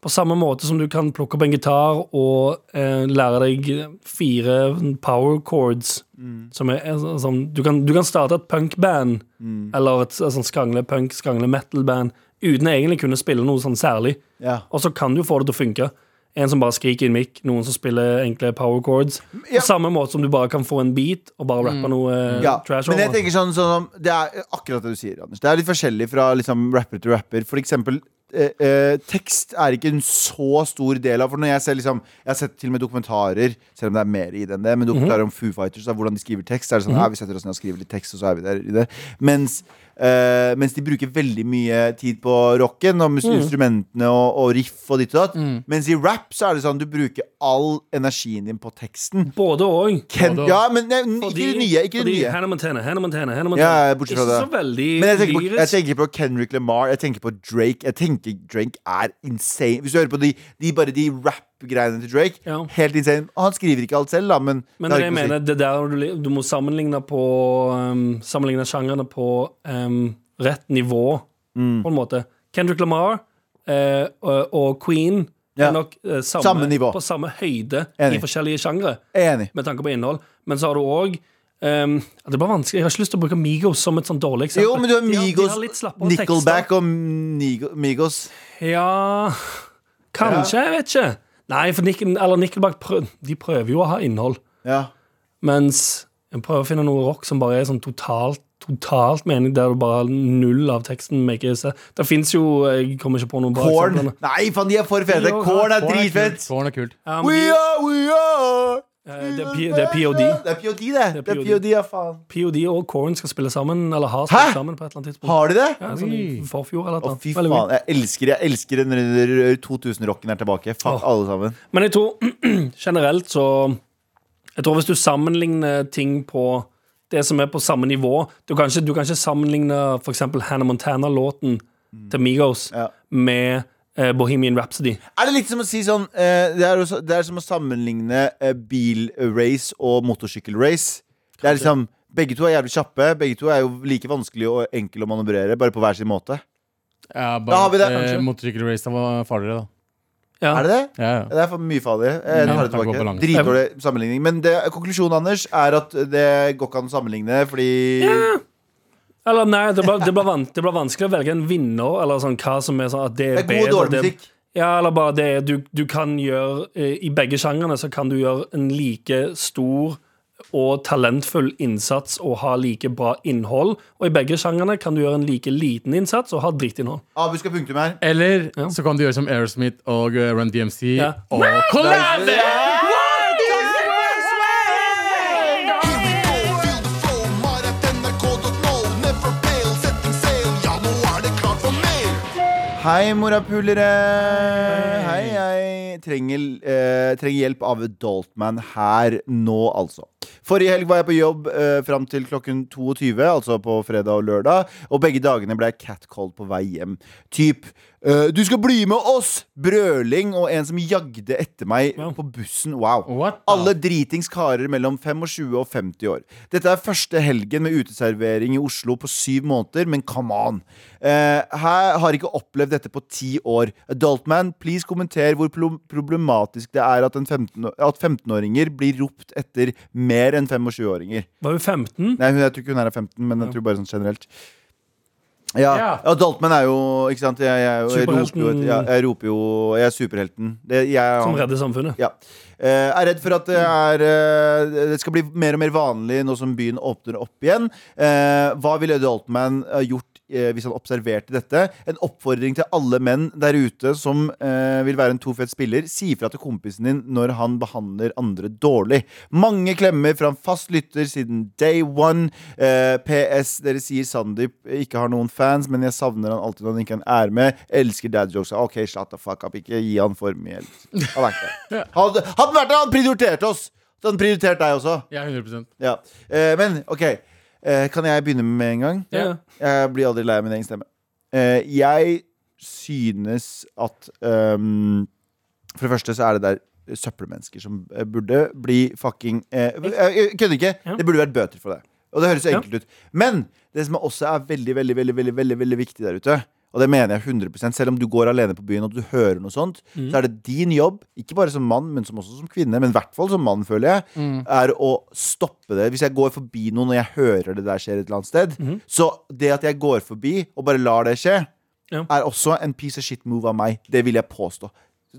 Speaker 4: På samme måte som du kan plukke opp en gitar og eh, lære deg fire power chords
Speaker 3: Mm.
Speaker 4: som er, er så- sånn, du, kan, du kan starte et punkband,
Speaker 3: Mm.
Speaker 4: eller et, sånn skrangle-punk, skrangle-metal-band, uten å egentlig kunne spille noe sånn særlig.
Speaker 3: Ja.
Speaker 4: Og så kan du få det til å funke. En som bare skriker i en mic, noen som spiller enkle power chords.
Speaker 3: Ja. Mm.
Speaker 4: På samme måte som du bare kan få en beat og bare rappe noe eh,
Speaker 3: Ja,
Speaker 4: trash
Speaker 3: men jeg
Speaker 4: over.
Speaker 3: tenker sånn, sånn som- Det er akkurat det du sier, Anders. Det er litt forskjellig fra liksom, rapper til rapper. For eksempel eh, eh, tekst er ikke en så stor del av For når jeg ser liksom Jeg har sett til og med dokumentarer, selv om det er mer i det enn det, men dokumentarer om Foo Fighters, da, hvordan de skriver tekst. Er det sånn, ja, vi setter oss ned og skriver litt tekst, og så er vi der i det. Mens, eh, mens de bruker veldig mye tid på rocken og mus- instrumentene og, og riff og ditt og datt. Mens i rap så er det sånn du bruker all energien din på teksten.
Speaker 4: Både og
Speaker 3: Ken,
Speaker 2: da-
Speaker 3: ja, men nei, ikke det nye. Ikke det
Speaker 4: fordi
Speaker 3: nye.
Speaker 4: Hannah Montana, Hannah Montana, Hannah Montana.
Speaker 3: Ja, ja, bortsett fra
Speaker 4: ikke
Speaker 3: det.
Speaker 4: så veldig
Speaker 3: Men jeg tenker, på, jeg
Speaker 4: lyrisk.
Speaker 3: tenker på Kendrick Lamar, jeg tenker på Drake. Jeg tenker Drake er insane. Hvis du hører på de, de, bare de rap-greiene til Drake,
Speaker 4: Ja.
Speaker 3: helt insane. Og han skriver ikke alt selv, da, men,
Speaker 4: Men
Speaker 3: det
Speaker 4: det
Speaker 3: har ikke noe
Speaker 4: jeg
Speaker 3: å si.
Speaker 4: mener, det der du, li- du må sammenligne på um, Sammenligne sjangerne på um, rett nivå,
Speaker 3: Mm.
Speaker 4: på en måte. Kendrick Lamar eh, og, og Queen
Speaker 3: Ja.
Speaker 4: er nok eh, samme,
Speaker 3: Samme nivå.
Speaker 4: på samme høyde
Speaker 3: Enig.
Speaker 4: i forskjellige sjangre,
Speaker 3: Enig.
Speaker 4: med tanke på innhold. Men så har du òg det var vanskelig Jeg har ikke lyst til å bruke Migos som et sånn dårlig eksempel.
Speaker 3: Jo, men du har
Speaker 4: De har- de
Speaker 3: Migos,
Speaker 4: har litt slappere tekster.
Speaker 3: Nickelback og Nigo- Migos.
Speaker 4: Ja Kanskje, jeg vet ikke. Nei, for Nickel, eller Nickelback prøv, de prøver jo å ha innhold.
Speaker 3: Ja.
Speaker 4: Mens jeg prøver å finne noe rock som bare er sånn totalt Totalt mening der du bare har null av teksten. Make it. Det fins jo Jeg kommer ikke på noen bra
Speaker 3: Korn.
Speaker 4: eksempler.
Speaker 3: Nei, faen, de er for fete.
Speaker 4: Jo,
Speaker 3: Korn er
Speaker 2: Korn er
Speaker 3: dritfett.
Speaker 2: kult, Korn er kult.
Speaker 4: Ja,
Speaker 3: We
Speaker 4: men
Speaker 3: are, we are.
Speaker 4: de- eh, det, er P- det er POD.
Speaker 3: Det er POD, det. Det er POD, ja, faen.
Speaker 4: POD og Korn skal spille sammen, eller har
Speaker 3: Hæ?
Speaker 4: spilt sammen på et eller annet tidspunkt.
Speaker 3: Har de det?
Speaker 4: Ja, sånn i forfjor eller
Speaker 3: Å,
Speaker 4: et eller annet.
Speaker 3: fy
Speaker 4: Veldig weird.
Speaker 3: faen. Jeg elsker, jeg elsker den 2000-rocken er tilbake. Fuck
Speaker 4: Åh.
Speaker 3: alle sammen.
Speaker 4: Men jeg tror *clears throat* generelt så Jeg tror hvis du sammenligner ting på det som er på samme nivå Du kan ikke, du kan ikke sammenligne for eksempel Hannah Montana-låten til Migos
Speaker 3: Mm. Ja.
Speaker 4: med eh, Bohemian Rhapsody.
Speaker 3: Er det litt som å si sånn eh, det, er også, det er som å sammenligne eh, bilrace og motorsykkelrace. Det er liksom Begge to er jævlig kjappe. Begge to er jo like vanskelig og enkle å manøvrere, bare på hver sin måte.
Speaker 2: Ja,
Speaker 3: Da har vi
Speaker 2: bare
Speaker 3: det,
Speaker 2: at eh,
Speaker 3: kanskje.
Speaker 2: motorsykkelracen var farligere, da.
Speaker 4: Ja.
Speaker 3: Er det det?
Speaker 2: Ja, ja.
Speaker 3: Det er for mye farlig. Eh,
Speaker 2: Ja,
Speaker 3: tar det
Speaker 2: takk for
Speaker 3: tilbake.
Speaker 2: balansen.
Speaker 3: Dritdårlig sammenligning. Men det, konklusjonen Anders er at det går ikke an å sammenligne, fordi
Speaker 4: Eller nei, det blir, det, blir van, det blir vanskelig å velge en vinner, eller sånn hva som er sånn at det
Speaker 3: det
Speaker 4: er,
Speaker 3: er god og
Speaker 4: bedre,
Speaker 3: dårlig
Speaker 4: det-
Speaker 3: musikk.
Speaker 4: Ja, eller bare det du, du kan gjøre eh, I begge sjangrene så kan du gjøre en like stor og talentfull innsats og ha like bra innhold. Og i begge sjangrene kan du gjøre en like liten innsats og ha drittinnhold.
Speaker 3: Abu skal punktum her.
Speaker 2: Eller
Speaker 4: Ja.
Speaker 2: så kan du gjøre som Aerosmith og eh, Run DMC
Speaker 4: Ja.
Speaker 2: og Collab!
Speaker 5: Here we go, feel the flow, Marat NRK
Speaker 3: Hei, morapulere! Hei, hei. Trenger, eh, trenger hjelp av Adultman her nå, altså. Forrige helg var jeg på jobb eh, fram til klokken 22, altså på fredag og lørdag. Og begge dagene ble jeg catcalled på vei hjem. Typ eh, 'Du skal bli med oss!' brøling og en som jagde etter meg på bussen. Wow.
Speaker 2: What the-
Speaker 3: Alle dritings karer mellom 25 og 50 år. Dette er første helgen med uteservering i Oslo på syv måneder, men come on! Eh, her har ikke opplevd dette på ti år. Adultman, please kommenter hvor plo- problematisk det er at, en 15 at 15-åringer blir ropt etter mer enn 25-åringer.
Speaker 4: Var hun 15?
Speaker 3: Nei, hun, jeg tror ikke hun her er 15, men jeg tror bare sånn generelt. Ja,
Speaker 2: Ja.
Speaker 3: Adultman er jo Ikke sant? Jeg, jeg, jeg, roper, jo,
Speaker 4: Superhelten.
Speaker 3: etter- ja, jeg roper jo Jeg er superhelten. Det, jeg,
Speaker 4: Som redder samfunnet.
Speaker 3: ja. Eh, er redd for at det, er, eh, det skal bli mer og mer vanlig nå som byen åpner opp igjen. Eh, hva ville Eddie Altman ha gjort eh, hvis han observerte dette? En oppfordring til alle menn der ute som eh, vil være en tofett spiller. Si ifra til kompisen din når han behandler andre dårlig. Mange klemmer fra en fast lytter siden day one. Eh, PS, dere sier Sandeep ikke har noen fans, men jeg savner han alltid når han ikke er med. Elsker dad jokes. Ok, shut the fuck up. Ikke gi han for mye. Han er ikke det. Hadde hadde han vært der, han prioriterte oss! Han prioriterte deg også.
Speaker 2: Ja, 100
Speaker 3: Ja. Eh, men OK, eh, kan jeg begynne med en gang?
Speaker 4: Ja.
Speaker 3: Jeg blir aldri lei av min egen stemme. Eh, jeg synes at ehm, For det første så er det der søppelmennesker som eh, burde bli fucking eh, Jeg jeg kødder ikke.
Speaker 4: Ja.
Speaker 3: Det burde vært bøter for det. Og det høres jo
Speaker 4: Ja.
Speaker 3: enkelt ut. Men det som også er veldig, veldig, veldig, veldig, veldig, veldig viktig der ute og det mener jeg 100% Selv om du går alene på byen og du hører noe sånt,
Speaker 4: Mm.
Speaker 3: så er det din jobb, ikke bare som mann, men som også som kvinne, men i hvert fall som mann, føler jeg,
Speaker 4: Mm.
Speaker 3: er å stoppe det. Hvis jeg går forbi noen og jeg hører det der skjer et eller annet sted,
Speaker 4: Mm.
Speaker 3: så det at jeg går forbi og bare lar det skje,
Speaker 4: Ja.
Speaker 3: er også en piece of shit move av meg. Det vil jeg påstå.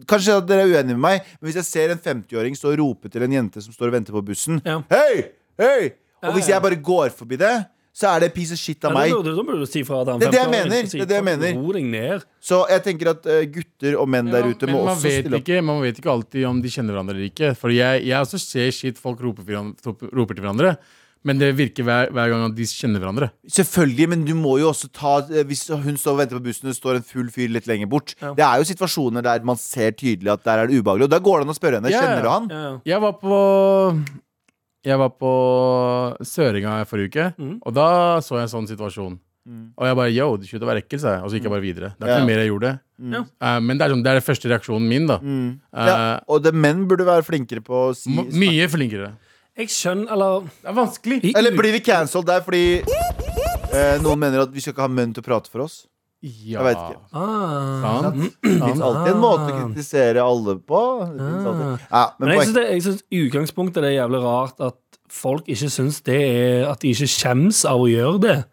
Speaker 3: Kanskje at dere er uenige med meg, men hvis jeg ser en 50-åring stå og rope til en jente som står og venter på bussen
Speaker 4: Ja.
Speaker 3: Hei! Hei! Og hvis
Speaker 4: ja.
Speaker 3: jeg bare går forbi det, så er det en piece of shit av
Speaker 4: Ja,
Speaker 3: meg.
Speaker 4: da burde- da burde du si fra at han
Speaker 3: Det er det jeg
Speaker 4: 15 år,
Speaker 3: mener,
Speaker 4: og si,
Speaker 3: det er det jeg mener.
Speaker 4: Ro deg ned.
Speaker 3: Så jeg tenker at eh, gutter og menn der ute
Speaker 2: men
Speaker 3: må
Speaker 2: man
Speaker 3: også
Speaker 2: vet
Speaker 3: stille opp.
Speaker 2: ikke, man vet ikke alltid om de kjenner hverandre eller ikke. For jeg, jeg også ser shit folk roper, for, han- roper til hverandre, men det virker hver, hver gang at de kjenner hverandre.
Speaker 3: Selvfølgelig, men du må jo også ta eh, Hvis hun står og venter på bussen, og det står en full fyr litt lenger bort. Det er jo situasjoner der man ser tydelig at der er det ubehagelig. Og da går det an å spørre henne.
Speaker 2: Ja, ja.
Speaker 3: Kjenner du han?
Speaker 4: Ja, ja.
Speaker 2: Jeg var på Jeg var på Søringa i forrige uke,
Speaker 4: Mm.
Speaker 2: og da så jeg en sånn situasjon. Og jeg bare yo, det slutter å være ekkel, sa jeg. Og så gikk jeg bare videre. Det er ikke
Speaker 3: Mm. Ja.
Speaker 2: noe
Speaker 3: Mm.
Speaker 2: mer jeg gjorde.
Speaker 4: Mm. Ja.
Speaker 2: Eh, men det er, sånn, det er den første reaksjonen min, da. Eh,
Speaker 3: Ja. Og det, menn burde være flinkere på å si
Speaker 2: m- mye flinkere.
Speaker 4: Jeg skjønner, eller
Speaker 2: Det er vanskelig.
Speaker 4: i
Speaker 3: Eller blir vi cancelled der fordi eh, noen mener at vi skal ikke ha menn til å prate for oss?
Speaker 2: Ja.
Speaker 3: Jeg vet ikke.
Speaker 4: Ah.
Speaker 2: Sant?
Speaker 3: Det fins alltid en
Speaker 2: Ah.
Speaker 3: måte å kritisere alle på. Det finnes alltid. Ja, men
Speaker 4: Men jeg
Speaker 3: poen-
Speaker 4: syns, det, jeg synes i utgangspunktet det er jævlig rart at folk ikke syns det er At de ikke skjems av å gjøre det.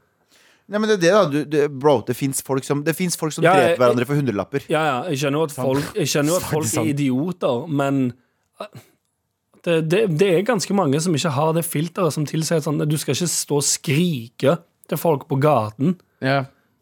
Speaker 3: Nei, men det er det, da. Du, det, bro, det fins folk som, det finnes folk som
Speaker 4: Ja, jeg-
Speaker 3: dreper hverandre for hundrelapper.
Speaker 4: Ja, ja, jeg skjønner jo
Speaker 3: Sånn.
Speaker 4: at folk, jeg skjønner jo at folk er idioter, men eh, det, det, det er ganske mange som ikke har det filteret som tilsier at sånn, du skal ikke stå og skrike til folk på gaten.
Speaker 2: Mm-hmm. Ja.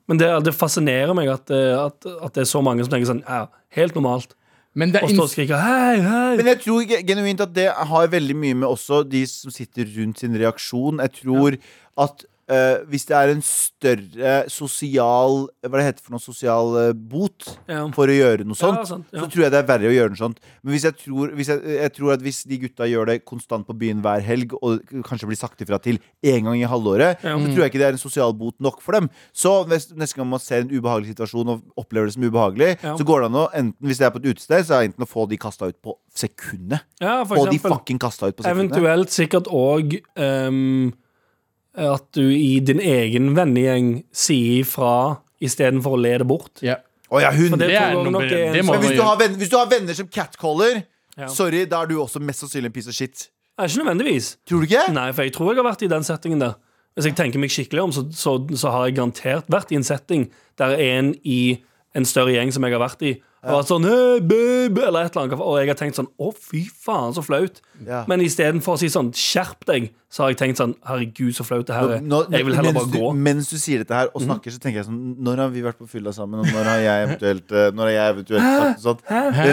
Speaker 4: Men det, det fascinerer meg at, eh, at, at det er så mange som tenker sånn ja, Helt normalt.
Speaker 2: Men det
Speaker 4: Og
Speaker 2: er
Speaker 4: står og
Speaker 2: inns...
Speaker 4: skriker hei, hei.
Speaker 3: Men jeg tror ge- genuint at det har veldig mye med også de som sitter rundt sin reaksjon. Jeg tror at eh, hvis det er en større sosial Hva det heter for noe sosial eh, bot
Speaker 4: Ja.
Speaker 3: for å gjøre noe sånt,
Speaker 4: sant, ja.
Speaker 3: så tror jeg det er verre å gjøre noe sånt. Men hvis jeg, tror, hvis jeg, jeg tror at hvis de gutta gjør det konstant på byen hver helg, og kanskje blir sagt ifra til én gang i halvåret, så tror jeg ikke det er en sosial bot nok for dem. Så nes- neste gang man ser en ubehagelig situasjon og opplever det som ubehagelig,
Speaker 4: Ja.
Speaker 3: så går det an å enten, hvis det er på et utested, så er det enten å få de kasta ut på sekundet.
Speaker 4: Ja, for
Speaker 3: Få de
Speaker 4: eksempel.
Speaker 3: fucking kasta ut på sekundet.
Speaker 4: Eventuelt sikkert òg ehm, at du i din egen vennegjeng sier ifra istedenfor å le det bort.
Speaker 2: ja.
Speaker 3: Å ja, hun.
Speaker 4: For det
Speaker 2: Det er
Speaker 4: tror jeg
Speaker 2: noe
Speaker 4: nok er
Speaker 2: bedre. Det
Speaker 4: en
Speaker 2: må man
Speaker 3: Men
Speaker 4: sånn-
Speaker 3: hvis du,
Speaker 2: gjøre.
Speaker 3: har venner, hvis du har venner som catcaller,
Speaker 4: Ja.
Speaker 3: sorry, da er du også mest sannsynlig en piece of shit.
Speaker 4: Nei, Ikke nødvendigvis.
Speaker 3: Tror du ikke?
Speaker 4: Nei, for jeg tror jeg har vært i den settingen der. Hvis jeg tenker meg skikkelig om, så, så, så har jeg garantert vært i en setting der en i en større gjeng som jeg har vært i, har vært sånn hey, babe, eller et eller annet, og jeg har tenkt sånn å, fy faen, så flaut.
Speaker 3: Ja.
Speaker 4: Men istedenfor å si sånn skjerp deg, så har jeg tenkt sånn herregud, så flaut det her er.
Speaker 3: Nå- nå-
Speaker 4: Eh, Jeg vil heller
Speaker 3: mens
Speaker 4: bare
Speaker 3: du,
Speaker 4: gå. Mhm.
Speaker 3: Mens du sier dette her og snakker, så tenker jeg sånn Når har vi vært på fylla sammen, og når har jeg eventuelt eh, Når har jeg eventuelt sagt noe sånt?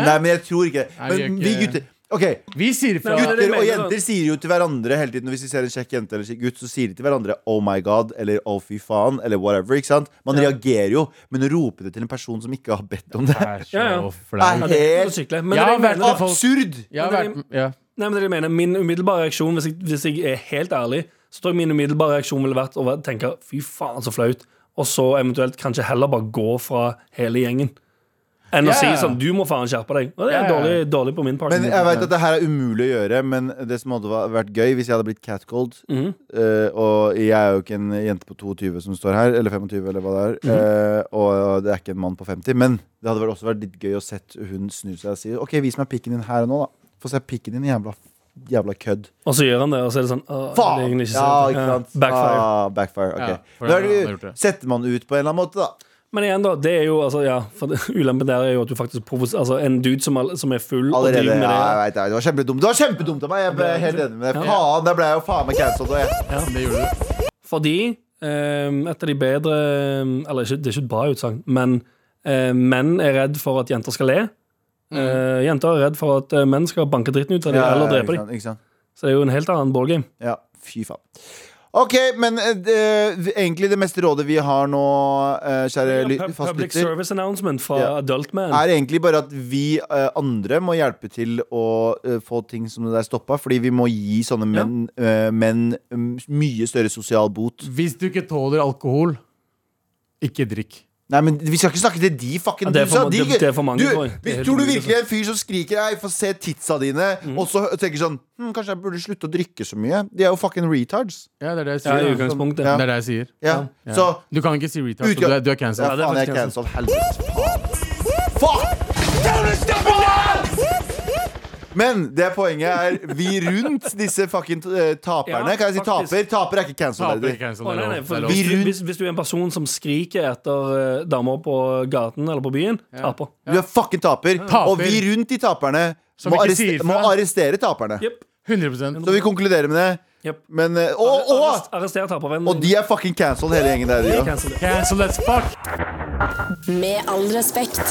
Speaker 3: Nei, men jeg tror ikke det.
Speaker 2: Nei, vi er
Speaker 3: Men
Speaker 2: ikke-
Speaker 3: vi gutter Ok,
Speaker 2: Vi sier fra.
Speaker 4: Nei, men-
Speaker 3: Gutter
Speaker 4: mener
Speaker 3: og
Speaker 4: du
Speaker 3: jenter sier jo til hverandre hele tiden Hvis de ser en kjekk jente eller kjekk gutt Så sier de til hverandre Oh my god, eller oh fy faen Eller whatever, ikke sant? Man reagerer jo Men å rope det til en person som ikke har bedt om det
Speaker 2: Det er så
Speaker 4: Ja, ja.
Speaker 2: flaut.
Speaker 4: Ja, det er så sykelig. Men
Speaker 2: Jeg
Speaker 4: det
Speaker 2: har
Speaker 4: jeg
Speaker 2: vært
Speaker 4: mener,
Speaker 2: med folk-
Speaker 3: Absurd!
Speaker 2: Jeg har vært med ja.
Speaker 4: Nei, men det er det jeg mener Min umiddelbare reaksjon, hvis jeg, hvis jeg er helt ærlig, så tror jeg min umiddelbare reaksjon ville vært å være- tenke fy faen, så flaut, og så eventuelt kanskje heller bare gå fra hele gjengen. Enn
Speaker 2: Ja.
Speaker 4: å si sånn du må faen skjerpe deg. Og det er
Speaker 2: Ja, ja.
Speaker 4: dårlig, dårlig på min part.
Speaker 3: Men jeg vet at det her er umulig å gjøre Men det som hadde va- vært gøy hvis jeg hadde blitt catcalled
Speaker 4: Mhm.
Speaker 3: eh, Og jeg er jo ikke en jente på 22 som står her Eller 25 eller hva det er
Speaker 4: Mhm.
Speaker 3: eh, Og det er ikke en mann på 50 Men det hadde vel også vært litt gøy å sett hun snu seg og si Ok, vis meg pikken din her og nå da Få se pikken din, jævla, jævla kødd
Speaker 4: Og så gjør han det, og så er det sånn «Åh, det er
Speaker 3: Faen!
Speaker 4: egentlig ikke
Speaker 3: ja,
Speaker 4: sant.
Speaker 3: ikke
Speaker 4: Ja,
Speaker 3: sant?
Speaker 4: Backfire.
Speaker 3: Ah, backfire. ok.
Speaker 2: Ja, for han
Speaker 3: Nå
Speaker 2: har
Speaker 3: er
Speaker 2: gjort
Speaker 3: det,
Speaker 2: det.
Speaker 3: setter man ut på en eller annen måte, da.
Speaker 4: Men igjen, da. Det er jo, altså, ja, for *laughs* det- Ulempen der er jo at du faktisk provoserer Altså, en dude som, all- som er full og
Speaker 3: Allerede,
Speaker 4: driver
Speaker 3: ja,
Speaker 4: med
Speaker 3: jeg
Speaker 4: det.
Speaker 3: vet, det. Det var kjempedumt Det var kjempedumt av meg! Jeg ble helt enig med deg. Faen, der ble jeg jo faen meg cancelled. og jeg-
Speaker 2: Det gjorde du.
Speaker 4: Fordi eh, et av de bedre ehm, Eller ikke, det er ikke et bra utsagn, men eh, menn er redd for at jenter skal le. Eh, jenter er redd for at eh, menn skal banke dritten ut av dem
Speaker 3: Mm. Ja,
Speaker 4: eller
Speaker 3: ikke
Speaker 4: drepe dem.
Speaker 3: sant, Ikke sant?
Speaker 4: Så det er jo en helt annen ballgame.
Speaker 3: Ja, fy faen. Ok, men eh, det- egentlig det meste rådet vi har nå, eh, kjære ly-
Speaker 4: Public
Speaker 3: fastlytter,
Speaker 4: service announcement fra
Speaker 3: Ja.
Speaker 4: Adult Man.
Speaker 3: er egentlig bare at vi eh, andre må hjelpe til å eh, få ting som det der stoppa. Fordi vi må gi sånne
Speaker 4: Ja.
Speaker 3: menn, eh, menn mm, mye større sosial bot.
Speaker 2: Hvis du ikke tåler alkohol, ikke drikk.
Speaker 3: Nei, men Vi skal ikke snakke til de fucking
Speaker 4: Ja, det er for
Speaker 3: dusa.
Speaker 4: ma-
Speaker 3: De,
Speaker 4: det- det er for mange,
Speaker 3: du,
Speaker 4: tror jeg. Det er
Speaker 3: hvis,
Speaker 4: helt
Speaker 3: tror du
Speaker 4: umulig, altså. Mhm.
Speaker 3: virkelig en fyr som skriker Ei, få se titsa dine, og så tenker sånn hm, Kanskje jeg burde slutte å drikke så mye? De er jo fucking retards.
Speaker 2: Ja, det er det jeg
Speaker 4: Ja, i
Speaker 2: sier.
Speaker 4: utgangspunktet.
Speaker 2: Det er det jeg sier.
Speaker 3: sånn- Ja.
Speaker 2: Ja.
Speaker 3: Så
Speaker 2: du kan ikke si retard, så
Speaker 3: Utgang-
Speaker 2: du er, du er
Speaker 3: ja,
Speaker 2: cancelled.
Speaker 4: det er
Speaker 3: faen, jeg er
Speaker 4: faktisk
Speaker 3: cancelled. Helvete. faen. Fuck! Men det poenget er vi rundt disse fucking eh, taperne.
Speaker 4: Ja,
Speaker 3: Kan jeg si
Speaker 4: faktisk.
Speaker 3: taper? Taper er ikke
Speaker 2: Taper
Speaker 3: cancelled.
Speaker 2: ikke cancelled,
Speaker 4: Å,
Speaker 2: det er
Speaker 4: nei, nei,
Speaker 2: lov,
Speaker 4: for
Speaker 2: det er
Speaker 4: hvis,
Speaker 2: lov.
Speaker 4: du- hvis, hvis du er en person som skriker etter eh, damer på gaten eller på byen, taper.
Speaker 3: Du er fucking taper.
Speaker 2: Taper.
Speaker 3: Og vi rundt de taperne
Speaker 2: Som
Speaker 3: må,
Speaker 2: ikke
Speaker 3: arreste,
Speaker 2: sier fra.
Speaker 3: må arrestere taperne.
Speaker 4: Jepp.
Speaker 2: 100
Speaker 3: Så vi konkluderer med det.
Speaker 4: Jepp.
Speaker 3: Men, eh, og, og
Speaker 4: Arrest- Arrester tapervennen.
Speaker 3: Og de er fucking cancelled, hele gjengen der. Ja.
Speaker 4: Cancel det.
Speaker 2: Cancel as fuck!
Speaker 1: Med all respekt.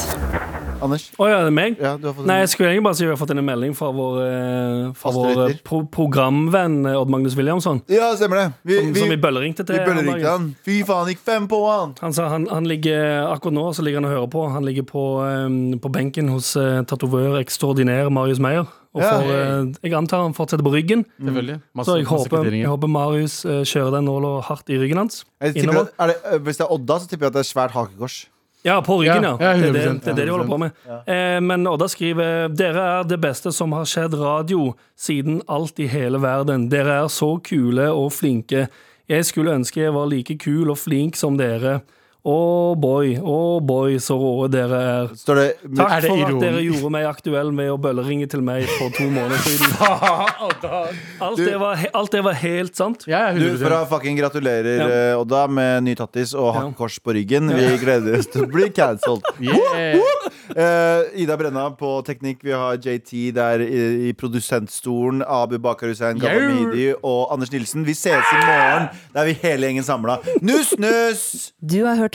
Speaker 3: Anders?
Speaker 4: Å ja, det er meg?
Speaker 3: Ja, du har fått en-
Speaker 4: Nei, jeg skulle egentlig bare si at vi har fått inn en melding fra vår, eh, fra
Speaker 3: Mm. Faste
Speaker 4: vår eh,
Speaker 3: lytter.
Speaker 4: pro programvenn eh, Odd Magnus Williamson.
Speaker 3: Ja, stemmer det. Vi,
Speaker 4: Som, som vi bølleringte til.
Speaker 3: vi
Speaker 4: om
Speaker 3: bølleringte
Speaker 4: dagen.
Speaker 3: han. Fy faen, gikk fem på han.
Speaker 4: Han sa han, han ligger akkurat nå så ligger han og hører på. Han ligger på, eh, på benken hos eh, tatovør ekstraordinær Marius Meyer. Og
Speaker 3: Ja.
Speaker 4: får, eh, jeg antar han fortsetter på ryggen.
Speaker 2: Selvfølgelig. Masse,
Speaker 4: Så jeg
Speaker 2: masse
Speaker 4: håper, jeg
Speaker 2: kvitteringer.
Speaker 4: håper Marius eh, kjører den nåla hardt i ryggen hans.
Speaker 3: Jeg tipper
Speaker 4: Innover.
Speaker 3: at, er det, ø, hvis det er Odda, så tipper jeg at det er svært hakekors.
Speaker 4: Ja, på ryggen, ja.
Speaker 2: Ja, ja,
Speaker 4: det, er det,
Speaker 2: 100%,
Speaker 4: det er det de holder på med. Eh, men Odda skriver Dere er det beste som har skjedd radio siden alt i hele verden. Dere er så kule og flinke. Jeg skulle ønske jeg var like kul og flink som dere. Å boy, å boy, så råe dere er.
Speaker 3: Står det
Speaker 4: Takk
Speaker 2: Er det
Speaker 4: for at
Speaker 2: ironi?
Speaker 4: dere gjorde meg aktuell med å bølleringe til meg for to måneder
Speaker 2: *laughs*
Speaker 4: siden. Alt det var, he- alt det var helt sant.
Speaker 2: Ja,
Speaker 3: du, fra
Speaker 2: 100
Speaker 3: fucking gratulerer,
Speaker 4: Ja.
Speaker 3: ø, Odda, med ny tattis og hakekors på ryggen. Vi gleder oss til å bli cancelled.
Speaker 2: yeah.
Speaker 3: Eh, Ida Brenna på teknikk. Vi har JT der i, i produsentstolen. Abu Bakar Hussein, Gabba
Speaker 2: Yo.
Speaker 3: Midi og Anders Nilsen. Vi ses i morgen. Da er vi hele gjengen samla. Nuss, nuss!
Speaker 6: Du har hørt